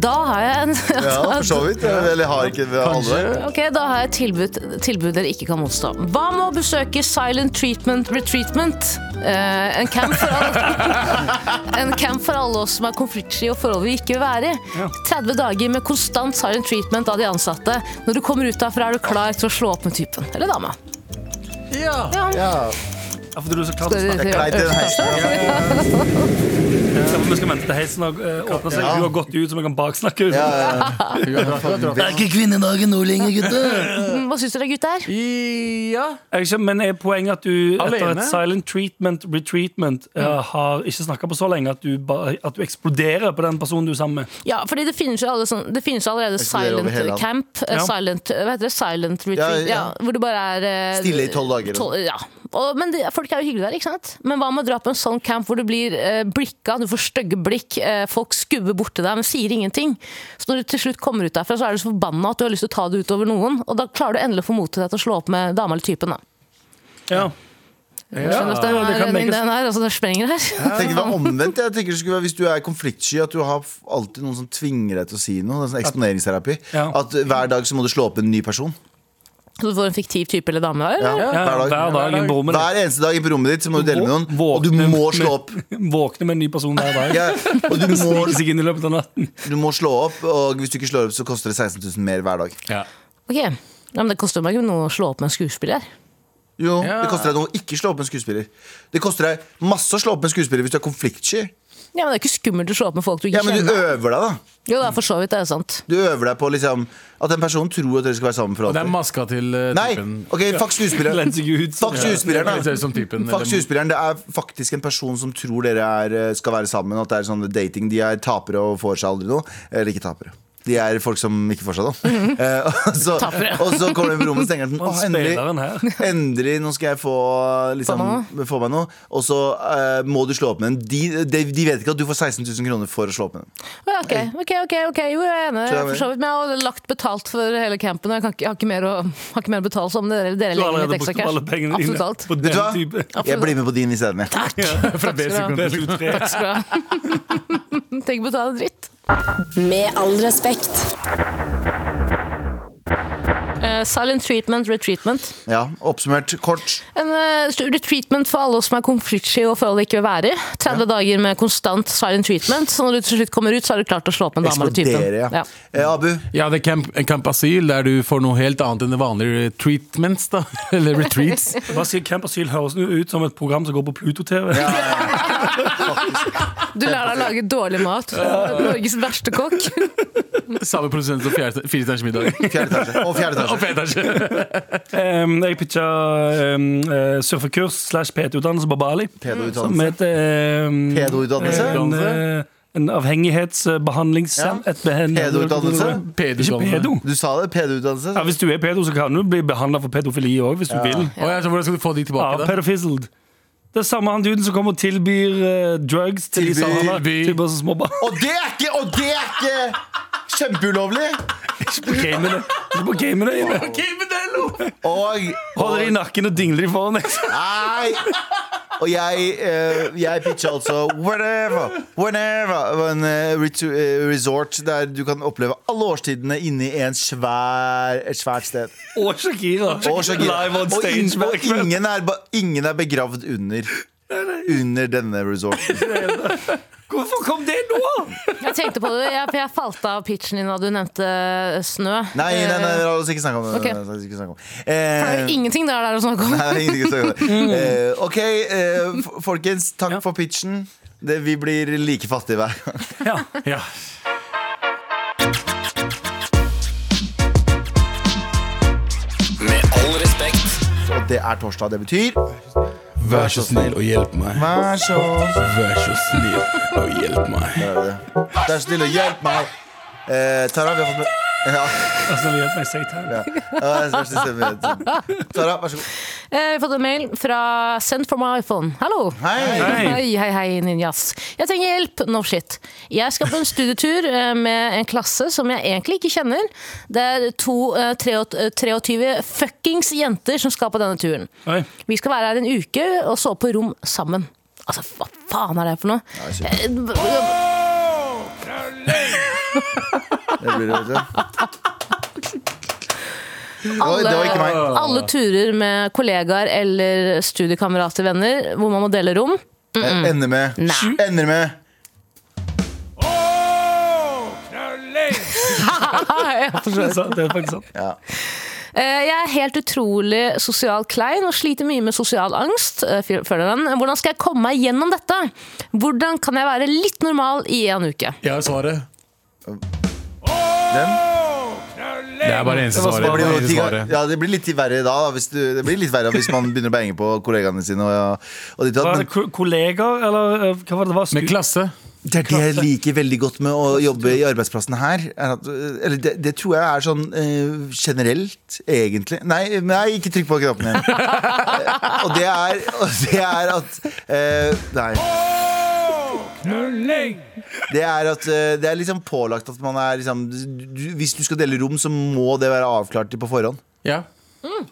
Speaker 3: Da har jeg en
Speaker 2: ja for så vidt. Eller har ikke ved alle.
Speaker 3: Ok, da har jeg et tilbud, tilbud dere ikke kan motstå. Hva med å besøke Silent Treatment Retreatment? Eh, en, camp for alle, en camp for alle oss som er konfliktsky og forhold vi ikke vil være i. 30 dager med konstant silent treatment av de ansatte. Når du kommer ut derfra, er du klar til å slå opp med typen. Eller dama.
Speaker 2: Ja.
Speaker 5: Ja, for du er så klar til å
Speaker 2: Jeg
Speaker 5: snakke.
Speaker 2: kleit i den heisen.
Speaker 5: Ja, for Vi skal vente til heisen har eh, åpnet seg.
Speaker 2: Ja.
Speaker 5: Du har gått ut, så vi kan baksnakke.
Speaker 2: Ja,
Speaker 5: Ja.
Speaker 2: ja, ja.
Speaker 6: ikke kvinnedagen nå lenger, gutter.
Speaker 3: Hva syns dere, gutter?
Speaker 4: ja.
Speaker 5: Men er poenget at du etter
Speaker 4: Alene?
Speaker 5: et silent treatment, retreatment, eh, har ikke snakka på så lenge at du, ba, at du eksploderer på den personen du er sammen med?
Speaker 3: Ja, fordi det finnes jo alle sånn, det finnes jo allerede
Speaker 2: Eksploderer over
Speaker 3: silent
Speaker 2: hele landet.
Speaker 3: camp. eh,
Speaker 5: Ja.
Speaker 3: Silent, hva heter det? Silent retreat.
Speaker 2: Ja,
Speaker 3: Ja,
Speaker 2: ja.
Speaker 3: hvor du bare er eh,
Speaker 2: Stille i tolv dager. altså.
Speaker 3: Tol- ja. og, men de, folk er jo hyggelige der, ikke sant? Men hva med å dra på en sånn camp hvor du blir eh, blikka, du får stygge blikk, eh, folk skubber borti deg, men sier ingenting. Så når du til slutt kommer ut derfra, så er du så forbanna at du har lyst til å ta det utover noen. Og da klarer du endelig å få mot til deg til å slå opp med dama eller typen, da.
Speaker 5: Ja.
Speaker 3: Skjønner at det
Speaker 5: det
Speaker 3: er
Speaker 5: kan
Speaker 3: den
Speaker 5: tenkes.
Speaker 3: ideen her, altså det sprenger her.
Speaker 2: Jeg tenker det var omvendt. Jeg tenker det skulle være Hvis du er konfliktsky, at du har f- alltid noen som tvinger deg til å si noe. Det er sånn eksponeringsterapi.
Speaker 5: Ja.
Speaker 2: At hver dag så må du slå opp en ny person.
Speaker 3: Så du får en fiktiv type eller dame, eller?
Speaker 2: Ja,
Speaker 5: Ja,
Speaker 2: hver dag.
Speaker 5: hver dag en bromme.
Speaker 2: Hver eneste dag på rommet ditt så må du dele med noen, og du
Speaker 5: Våkne
Speaker 2: må
Speaker 5: med-
Speaker 2: slå opp.
Speaker 5: Våkne med en ny person hver dag.
Speaker 2: Ja, og du må,
Speaker 5: Snike seg inn i løpet av natten.
Speaker 2: du må slå opp, og hvis du ikke slår opp, så koster det 16 000 mer hver dag.
Speaker 4: Ja.
Speaker 3: Ok, ja, men det koster meg ikke noe å slå opp med en skuespiller.
Speaker 2: Jo,
Speaker 4: Ja.
Speaker 2: Det koster deg noe å ikke slå opp med en skuespiller. Det koster deg masse å slå opp med en skuespiller hvis du er konfliktsky.
Speaker 3: Ja, men det er ikke skummelt å slå opp med folk du ikke
Speaker 2: Ja, Men du
Speaker 3: kjenner.
Speaker 2: øver deg, da.
Speaker 3: Jo, det er for så vidt, det er sant.
Speaker 2: Du øver deg på liksom at en person tror at dere skal være sammen for
Speaker 4: Og det er
Speaker 2: alltid.
Speaker 4: maska til eh,
Speaker 2: Nei!
Speaker 4: typen.
Speaker 2: OK, fuck skuespilleren.
Speaker 5: Lene seg ut.
Speaker 2: Fuck skuespilleren,
Speaker 4: Det ser ut som typen,
Speaker 2: da. Fuck
Speaker 4: eller-
Speaker 2: skuespilleren, Det er faktisk en person som tror dere er, eh, skal være sammen. At det er sånn dating De er tapere og får seg aldri noe. Eller ikke tapere. De er folk som ikke får seg noe. Eh, og, så,
Speaker 3: Tapere.
Speaker 2: og så kommer de på rommet og tenker sånn Å,
Speaker 5: spilleren her.
Speaker 2: endelig, endelig, nå skal jeg få, liksom,
Speaker 3: Få
Speaker 2: få meg noe. Og så eh, må du slå opp med dem. De, de, de vet ikke at du får 16 000 kroner for å slå opp med dem.
Speaker 3: Å ja, Ok, ok, ok, ok, jo jeg er enig
Speaker 2: Så er vi-
Speaker 3: for så vidt, men jeg har lagt betalt for hele campen, og jeg, kan ikke, jeg har, ikke mer å, har ikke mer å betale som dere, dere
Speaker 5: Du har
Speaker 3: legger
Speaker 5: allerede
Speaker 3: litt ekstra
Speaker 5: brukt opp
Speaker 3: cash.
Speaker 5: alle pengene dine
Speaker 3: Absolutt alt.
Speaker 5: på
Speaker 2: Vet
Speaker 5: den
Speaker 2: du hva?
Speaker 5: type.
Speaker 2: Jeg blir med på din isteden. jeg.
Speaker 4: Fra
Speaker 3: Takk skal
Speaker 4: B-sekunden.
Speaker 3: du ha.
Speaker 5: Del tre.
Speaker 3: Takk skal du ha. Tenk ikke betale dritt.
Speaker 1: Med all respekt.
Speaker 3: Eh, silent treatment, retreatment.
Speaker 2: Ja, oppsummert kort.
Speaker 3: En eh, retreatment for alle oss som er konfliktsky og forhold ikke vil være i. 30 dager med konstant silent treatment, så når du til slutt kommer ut, så er du klar til å slå opp en dame eller typen.
Speaker 2: Eksplodere, ja. Eh, Abu,
Speaker 4: Ja, det er camp, en camp asyl der du får noe helt annet enn det vanlige treatments, da. Eller retreats.
Speaker 5: Hva sier Camp Asyl høres nå ut som et program som går på Pluto-TV.
Speaker 3: Du lærer deg å lage dårlig mat. Norges verste kokk.
Speaker 4: Samme produsent som fjerde- Fire stjerners middag.
Speaker 2: fjerde etasje. Og fjerde etasje.
Speaker 4: Og fjerde etasje.
Speaker 5: Em, jeg pitcha em, eh, surfekurs slash PT-utdannelse på Bali.
Speaker 2: Pedo-utdannelse.
Speaker 5: Som heter em,
Speaker 2: Pedo-utdannelse?
Speaker 5: en, eh, en avhengighetsbehandlings...
Speaker 2: Ja.
Speaker 5: et behen-
Speaker 2: Pedoutdannelse?
Speaker 5: Ikke
Speaker 4: sånn.
Speaker 5: pedo.
Speaker 2: Du sa det, pedo-utdannelse?
Speaker 5: Ja, hvis du er pedo, så kan du bli behandla for pedofili òg, hvis du vil.
Speaker 4: Å, ja, så hvordan skal du få de
Speaker 5: Ja,
Speaker 4: tilbake? da?
Speaker 5: pedofizzled. Det er samme han duden som kommer og tilbyr eh, drugs til de
Speaker 2: Tilbyr-
Speaker 5: samme
Speaker 4: by-
Speaker 5: tilbyr så små barn.
Speaker 2: Og det er ikke, og det er ikke kjempeulovlig!
Speaker 5: Ikke på gamene. Ikke på gamene Ibe.
Speaker 2: Og,
Speaker 5: Holder de i nakken og dingler de foran liksom. deg.
Speaker 2: Nei! Og jeg, eh, jeg pitcha altså Whenever, whenever En eh, ritu- eh, resort der du kan oppleve alle årstidene inni en svær, et svært sted.
Speaker 5: Og Shakira.
Speaker 2: Og, så-
Speaker 5: Live on
Speaker 2: og,
Speaker 5: stage.
Speaker 2: ingen,
Speaker 5: hver
Speaker 2: og
Speaker 5: kveld.
Speaker 2: ingen, er, ba- ingen er begravd under. Under denne resorten.
Speaker 5: Hvorfor kom det nå?
Speaker 3: Jeg tenkte på det, jeg, for jeg falt av pitchen din da du nevnte eh, snø.
Speaker 2: Nei, nei, nei,
Speaker 3: Eh,
Speaker 2: la oss ikke snakke om det.
Speaker 3: Ok.
Speaker 2: La oss ikke snakke om det.
Speaker 3: Det er
Speaker 2: Eh,
Speaker 3: jo ingenting der det er å snakke om.
Speaker 2: Nei, det er ingenting å snakke
Speaker 3: Mm.
Speaker 2: om. Eh, ok, eh, f- folkens, takk for pitchen. Det, vi blir like fattige hver gang.
Speaker 5: Ja.
Speaker 4: Ja.
Speaker 7: Med all respekt.
Speaker 2: Og det er torsdag. Det betyr
Speaker 7: Vær så snill og hjelp meg.
Speaker 2: Vær så
Speaker 7: Vær så snill og hjelp meg.
Speaker 2: Vær snill og hjelp meg. Eh, Tara, vi har fått med ja,
Speaker 5: Altså, hjelp meg, Satan.
Speaker 2: ja. Ja, det er så snill med- Tara, vær så god.
Speaker 3: Eh, Vi har fått en mail fra Send from iPhone. Hallo!
Speaker 2: Hei.
Speaker 5: Hei.
Speaker 3: Hei, hei, hei, ninjas. Jeg trenger hjelp. No shit. Jeg skal på en studietur eh, med en klasse som jeg egentlig ikke kjenner. Det er to, eh, tre- eh, 23 fuckings jenter som skal på denne turen.
Speaker 5: Oi.
Speaker 3: Vi skal være her en uke og sove på rom sammen. Altså, hva faen er det her for noe? Eh, b- b-
Speaker 2: Det blir det, vet du. Oi, det var ikke meg.
Speaker 3: alle turer med kollegaer eller studiekamerater, venner, hvor man må dele rom.
Speaker 2: Eh, Ender med
Speaker 3: Nei.
Speaker 2: Ender med
Speaker 5: Det er sant, det er faktisk sånn. sant.
Speaker 3: Eh, Jeg er helt utrolig sosial klein og sliter mye med sosial angst. eh, fyr- føler den. Hvordan skal jeg komme meg gjennom dette? Hvordan kan jeg være litt normal i en uke?
Speaker 4: Jeg har svaret.
Speaker 2: den.
Speaker 4: Det er bare eneste
Speaker 5: Det var
Speaker 2: Det
Speaker 4: svaret.
Speaker 2: blir,
Speaker 4: Det
Speaker 2: jo
Speaker 4: eneste
Speaker 2: ti-
Speaker 4: svaret.
Speaker 2: ja, det blir litt verre da da, hvis du, Det blir litt verre hvis man begynner å bange på kollegaene sine. Og, og ditt, og
Speaker 5: Var
Speaker 2: datt,
Speaker 5: det ko- kollegaer, eller eh, hva var det det var?
Speaker 4: Med klasse.
Speaker 2: men det er det jeg liker veldig godt med å jobbe i arbeidsplassen her. Er at, eh, eller det, det tror jeg er sånn eh, generelt, egentlig. Nei, nei, ikke trykk på knappen igjen. Eh, og, det er, og det er at eh, Nei. Det er at eh, det er liksom pålagt at man er liksom du, Hvis du skal dele rom, så må det være avklart på forhånd.
Speaker 4: Ja.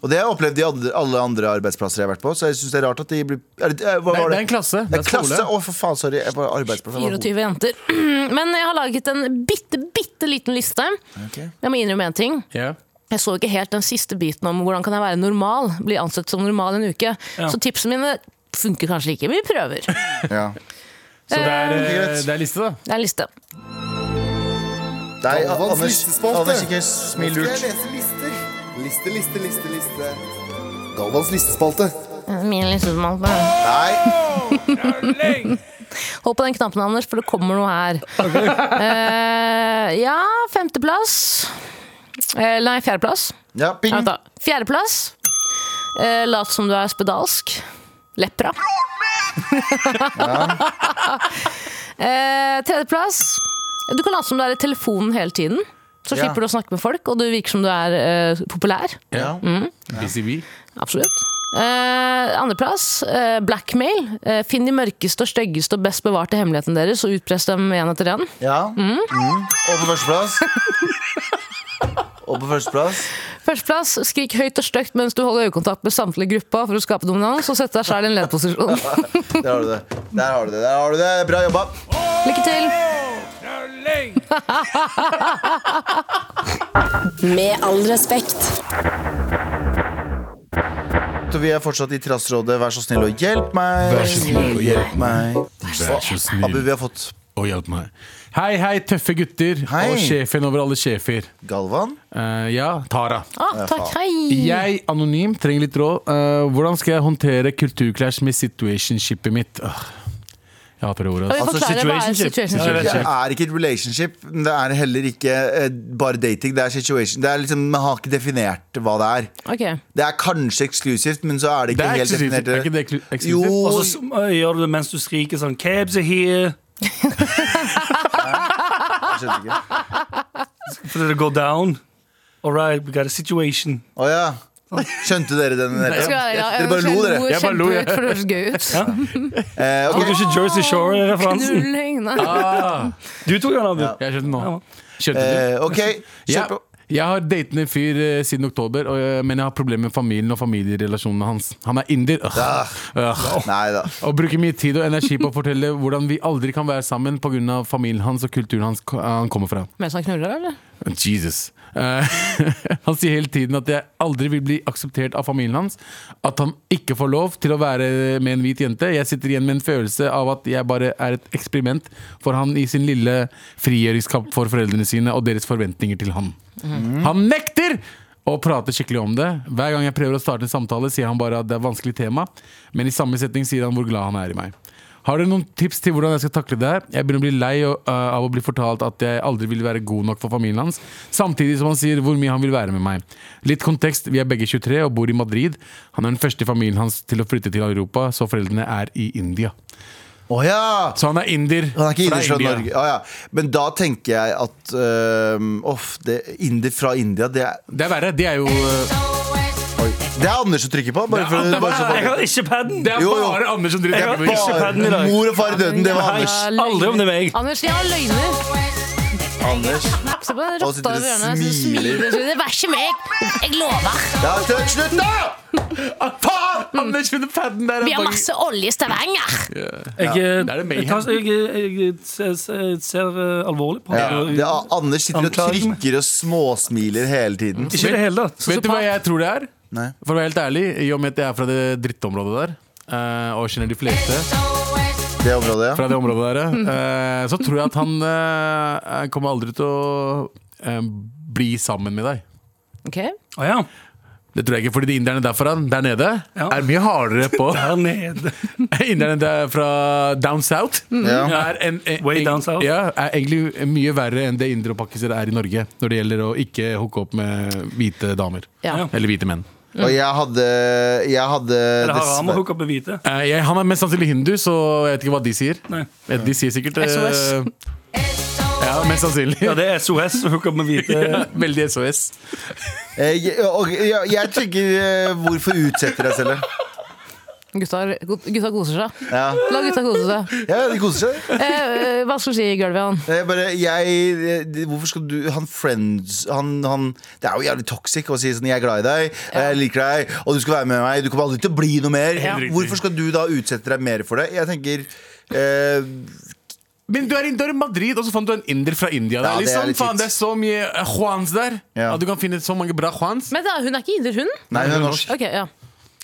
Speaker 2: Og det har jeg opplevd i andre, alle andre arbeidsplasser jeg har vært på. Så jeg synes det er rart at de blir er det, eh, Hva
Speaker 4: Det
Speaker 2: var
Speaker 4: er, det
Speaker 2: det?
Speaker 4: er en klasse.
Speaker 2: Det
Speaker 4: Det
Speaker 2: er
Speaker 4: er skole.
Speaker 2: klasse! Å, for faen, sorry. Jeg er på arbeidsplass. Jeg var god.
Speaker 3: 24 jenter. Men jeg har laget en bitte, bitte liten liste.
Speaker 2: Ok.
Speaker 3: Jeg må innrømme én ting.
Speaker 4: Ja.
Speaker 3: Jeg så ikke helt den siste biten om hvordan kan jeg være normal. Bli ansett som normal en uke. Så tipsene mine funker kanskje ikke. Vi prøver. Det
Speaker 2: Ja.
Speaker 4: Så det er, eh,
Speaker 2: Greit.
Speaker 4: det er liste, da.
Speaker 3: er en liste.
Speaker 2: Nei,
Speaker 8: Galvans
Speaker 2: Anders,
Speaker 8: listespalte.
Speaker 2: Anders, ikke
Speaker 8: Nå
Speaker 2: smil
Speaker 8: skal
Speaker 2: lurt.
Speaker 8: jeg lese lister. Liste, liste, liste, liste. Galvans listespalte.
Speaker 3: Min liste som alt bare-
Speaker 2: Nei,
Speaker 3: Hold på den knappen, Anders, for det kommer noe her. Eh, ja, femteplass. Eh, nei, fjerdeplass.
Speaker 2: ja, ping.
Speaker 3: Vent, da. Fjerdeplass. Eh, lat som du er spedalsk. Lepra. eh, tredjeplass. Du kan late som du er i telefonen hele tiden. Så
Speaker 2: Ja.
Speaker 3: slipper du å snakke med folk, og du virker som du er eh, populær.
Speaker 2: Ja.
Speaker 7: Mm.
Speaker 4: BCB.
Speaker 3: Absolutt. Eh, Andreplass, eh, blackmail. Eh, finn de mørkeste og styggeste og best bevarte hemmelighetene deres og utpress dem én etter én.
Speaker 2: ja. Mm. Og på førsteplass Og på førsteplass
Speaker 3: Førsteplass, skrik høyt og stygt mens du holder øyekontakt med samtlige gruppa for å skape dominans og sette deg sjæl i en ledposisjon.
Speaker 2: Der har du det. Der har du det. Der har du det. Bra jobba.
Speaker 3: Lykke til!
Speaker 1: Med all respekt.
Speaker 2: Så vi er fortsatt i Trassrådet. Vær så snill og hjelp meg.
Speaker 7: Vær så snill og hjelp meg.
Speaker 2: meg.
Speaker 7: Vær så
Speaker 2: Abu,
Speaker 7: snill
Speaker 2: vi har fått
Speaker 7: og hjelp meg.
Speaker 4: Hei, hei, tøffe gutter
Speaker 2: Hei.
Speaker 4: og sjefen over alle sjefer.
Speaker 2: Galvan.
Speaker 4: Eh, ja, Tara.
Speaker 3: Ah, takk, hei!
Speaker 4: Jeg, anonym, trenger litt råd. Eh, hvordan skal jeg håndtere kulturclash med situationshipet mitt? Åh, jeg hater det ordet. altså.
Speaker 3: Og vi
Speaker 4: ass.
Speaker 3: forklarer hva er
Speaker 5: situationship.
Speaker 3: situationship.
Speaker 2: Det er ikke et relationship, men det er heller ikke eh, bare dating. Det er situation. Det er liksom, Man har ikke definert hva det er.
Speaker 3: Ok,
Speaker 2: Det er kanskje eksklusivt, men så er det ikke
Speaker 4: Det er
Speaker 2: helt
Speaker 4: eksklusivt.
Speaker 2: definert.
Speaker 4: Er ikke det
Speaker 5: Altså,
Speaker 4: eksklu- eksklusivt?
Speaker 5: eh,
Speaker 2: Jo,
Speaker 5: Og så s- gjør du det mens du skriker sånn Cabs are here.
Speaker 2: skjønte ikke.
Speaker 5: Fordi det går down. All right, we got a situation.
Speaker 2: Å ja. Skjønte dere den? Dere,
Speaker 3: Skal jeg være- ja,
Speaker 2: dere bare lo, dere.
Speaker 3: Jeg
Speaker 4: bare lo,
Speaker 3: kjemper
Speaker 4: jeg.
Speaker 3: ut, for det høres gøy ut.
Speaker 2: Eh, ok.
Speaker 5: Tok du ikke Jersey Shore-referansen?
Speaker 3: Knulling, nei.
Speaker 4: Ah,
Speaker 5: Du tok den, Abu.
Speaker 4: jeg skjønte nå.
Speaker 5: Ja.
Speaker 4: Skjønte du?
Speaker 2: Eh, ok, kjør
Speaker 4: Jeg,
Speaker 2: på.
Speaker 4: jeg har datet en fyr eh, siden oktober, og, eh, men jeg har problemer med familien og familierelasjonene hans. Han er inder. Øh.
Speaker 2: Ah.
Speaker 4: Øh.
Speaker 2: Nei da.
Speaker 4: Og bruker mye tid og energi på å fortelle hvordan vi aldri kan være sammen pga. familien hans og kulturen hans, han kommer fra.
Speaker 3: Mens han knuller, eller?
Speaker 4: Jesus. Eh, han sier hele tiden at jeg aldri vil bli akseptert av familien hans. At han ikke får lov til å være med en hvit jente. Jeg sitter igjen med en følelse av at jeg bare er et eksperiment for han i sin lille frigjøringskamp for foreldrene sine og deres forventninger til han. Han nekter! Og prater skikkelig om det. Hver gang jeg prøver å starte en samtale, sier han bare at det er et vanskelig tema, men i samme setning sier han hvor glad han er i meg. Har dere noen tips til hvordan jeg skal takle det her? Jeg begynner å bli lei og, øh, av å bli fortalt at jeg aldri vil være god nok for familien hans, samtidig som han sier hvor mye han vil være med meg. Litt kontekst, vi er begge 23 og bor i Madrid. Han er den første i familien hans til å flytte til Europa, så foreldrene er i India.
Speaker 2: Å ja!
Speaker 4: Så han er inder
Speaker 2: Han er ikke inder fra
Speaker 4: India.
Speaker 2: Norge. Å, ja. Men da tenker jeg at øhm, off, det, Inder fra India, det er,
Speaker 4: Det er verre. De er jo øh,
Speaker 2: oi, det er Anders som trykker på. Bare for,
Speaker 4: Det er-
Speaker 2: bare så
Speaker 5: Jeg
Speaker 2: folk-
Speaker 5: har ikke paden!
Speaker 4: Det er
Speaker 2: Jo, jo.
Speaker 4: bare Anders som driter
Speaker 5: Jeg
Speaker 4: i det.
Speaker 5: har ikke paden i dag.
Speaker 2: Mor og far i døden, det var Anders.
Speaker 5: Aldri om det er meg.
Speaker 3: Anders, jeg har løgner.
Speaker 2: Anders.
Speaker 3: Se på den
Speaker 2: Og sitter
Speaker 3: rotta
Speaker 2: og
Speaker 3: over hjørnet. så
Speaker 2: smiler.
Speaker 3: smiler. Det var ikke meg! Jeg lover.
Speaker 2: Ja, slutt, slutt, da!
Speaker 4: Ah, Faen!
Speaker 2: Mm.
Speaker 4: Anders med den padden der! er
Speaker 3: Vi har
Speaker 4: bak-
Speaker 3: masse olje i Stavanger.
Speaker 5: Jeg, eh,
Speaker 4: det er det
Speaker 5: jeg,
Speaker 4: mayhem.
Speaker 5: tar- jeg, jeg, jeg ser, ser- ser eh, alvorlig på
Speaker 2: Ja, det
Speaker 5: det.
Speaker 2: er, Anders sitter og
Speaker 5: Anklagen.
Speaker 2: trykker og småsmiler hele tiden.
Speaker 5: Ikke i det hele tatt.
Speaker 4: Vet du hva jeg tror det er?
Speaker 2: Nei.
Speaker 4: For å være helt ærlig, i og med at jeg er fra det drittområdet der, eh, og kjenner de fleste
Speaker 2: Det området, ja.
Speaker 4: fra det området der, eh, så tror jeg at han eh, kommer aldri til å eh, bli sammen med deg.
Speaker 3: Ok,
Speaker 5: Å ja.
Speaker 4: Det tror jeg ikke, fordi de inderne derfra, der nede
Speaker 5: Ja.
Speaker 4: er mye hardere på
Speaker 5: Der nede.
Speaker 4: Inderne der fra down south.
Speaker 2: ja.
Speaker 4: Er en, en,
Speaker 5: Way
Speaker 4: en-
Speaker 5: down south.
Speaker 4: Ja, er egentlig mye verre enn det indere og pakkisere er i Norge når det gjelder å ikke hooke opp med hvite damer.
Speaker 3: Ja.
Speaker 4: Eller hvite menn.
Speaker 2: Og jeg hadde Jeg hadde
Speaker 5: Er det haram å
Speaker 2: dessverre-
Speaker 5: hooke opp med hvite?
Speaker 4: Eh, jeg, han er mest sannsynlig hindu, så jeg vet ikke hva de sier.
Speaker 5: Nei.
Speaker 4: Eh, De sier sikkert eh,
Speaker 3: SOS.
Speaker 4: Ja, mest sannsynlig.
Speaker 5: Ja, det er SOS å hooke opp med hvite.
Speaker 4: Veldig SOS.
Speaker 2: Eh, jeg- og jeg, jeg tenker eh, Hvorfor utsetter jeg selv?
Speaker 3: Gutta, gutta koser seg.
Speaker 2: Ja.
Speaker 3: La gutta kose seg.
Speaker 2: ja, de koser seg.
Speaker 3: Eh, eh, hva skal du si, Gulvian?
Speaker 2: Det er bare, jeg, det- hvorfor skal du Han friends han, han, Det er jo jævlig toxic å si sånn 'jeg er glad i deg, jeg liker deg, og du skal være med meg', du kommer aldri til å bli noe mer.
Speaker 4: riktig.
Speaker 2: Hvorfor skal du da utsette deg mer for det? Jeg tenker eh,
Speaker 4: Men du er, i- du er i Madrid, og så fant du en inder fra India. Det
Speaker 2: Ja,
Speaker 4: er,
Speaker 2: det er
Speaker 4: liksom,
Speaker 2: litt
Speaker 4: faen,
Speaker 2: shit.
Speaker 4: det er så mye eh, Juans der.
Speaker 2: Ja.
Speaker 4: At du kan finne så mange bra Juans.
Speaker 3: Men da, hun er ikke inder, hun?
Speaker 2: Nei, hun er norsk.
Speaker 3: Ok, ja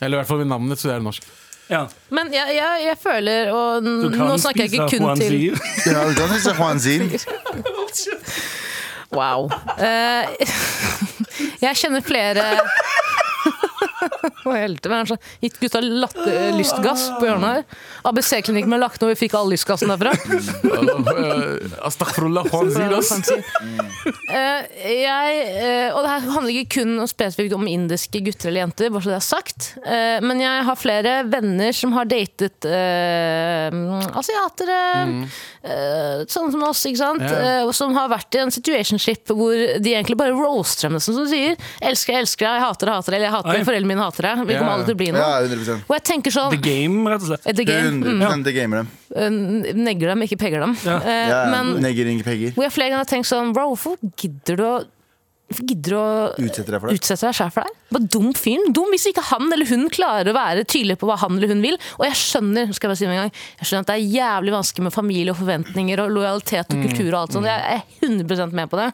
Speaker 4: Eller i hvert fall ved navnet, så det er norsk.
Speaker 5: Ja.
Speaker 3: Men jeg, jeg, jeg føler Og
Speaker 5: Du
Speaker 3: n-
Speaker 5: kan
Speaker 3: nå snakker jeg ikke
Speaker 5: spise
Speaker 3: kun til
Speaker 5: Juanzir.
Speaker 2: Ja, du kan si Juan Zin.
Speaker 3: Wow. Eh, jeg kjenner flere Hva helte men altså, Gitt gutta latte, lystgass på hjørnet her. ABC-klinikken ble lagt ned, og vi fikk all lystgassen derfra.
Speaker 4: Uh, Astaghfirullah, Juan Zir, ass.
Speaker 3: Eh, jeg, eh, og det her handler ikke kun og spesifikt om indiske gutter eller jenter, bare så det er sagt. Eh, men jeg har flere venner som har datet eh, asiatere, eh, sånne som oss, ikke sant?
Speaker 4: Ja.
Speaker 3: Eh, og som har vært i en situationship hvor de egentlig bare roaster dem, nesten, som de sier. 'Elsker deg, elsker deg, jeg hater deg, hater deg', eller jeg hater
Speaker 5: Oi.
Speaker 3: deg, 'foreldrene mine hater deg'. Vi
Speaker 4: Ja.
Speaker 3: kommer aldri til å bli noe.
Speaker 2: Ja, 100
Speaker 3: Og jeg tenker sånn
Speaker 5: The Game, rett og slett.
Speaker 3: eh, The game. Mm,
Speaker 2: 100 det gamer dem.
Speaker 3: eh, negger dem, ikke pegger dem.
Speaker 5: Ja.
Speaker 3: Eh,
Speaker 2: Ja,
Speaker 3: men
Speaker 2: Negger ingen penger.
Speaker 3: hvor jeg flere ganger har tenkt sånn Bro, hvorfor gidder du å Hvorfor gidder du å
Speaker 2: Utsetter deg for det.
Speaker 3: utsette deg selv for deg? Bare dum fyren. Dum hvis ikke han eller hun klarer å være tydelig på hva han eller hun vil. Og jeg skjønner skal jeg bare si det med en gang, jeg skjønner at det er jævlig vanskelig med familie og forventninger og lojalitet
Speaker 4: Mm.
Speaker 3: og kultur og alt sånt. Jeg er 100 med på det.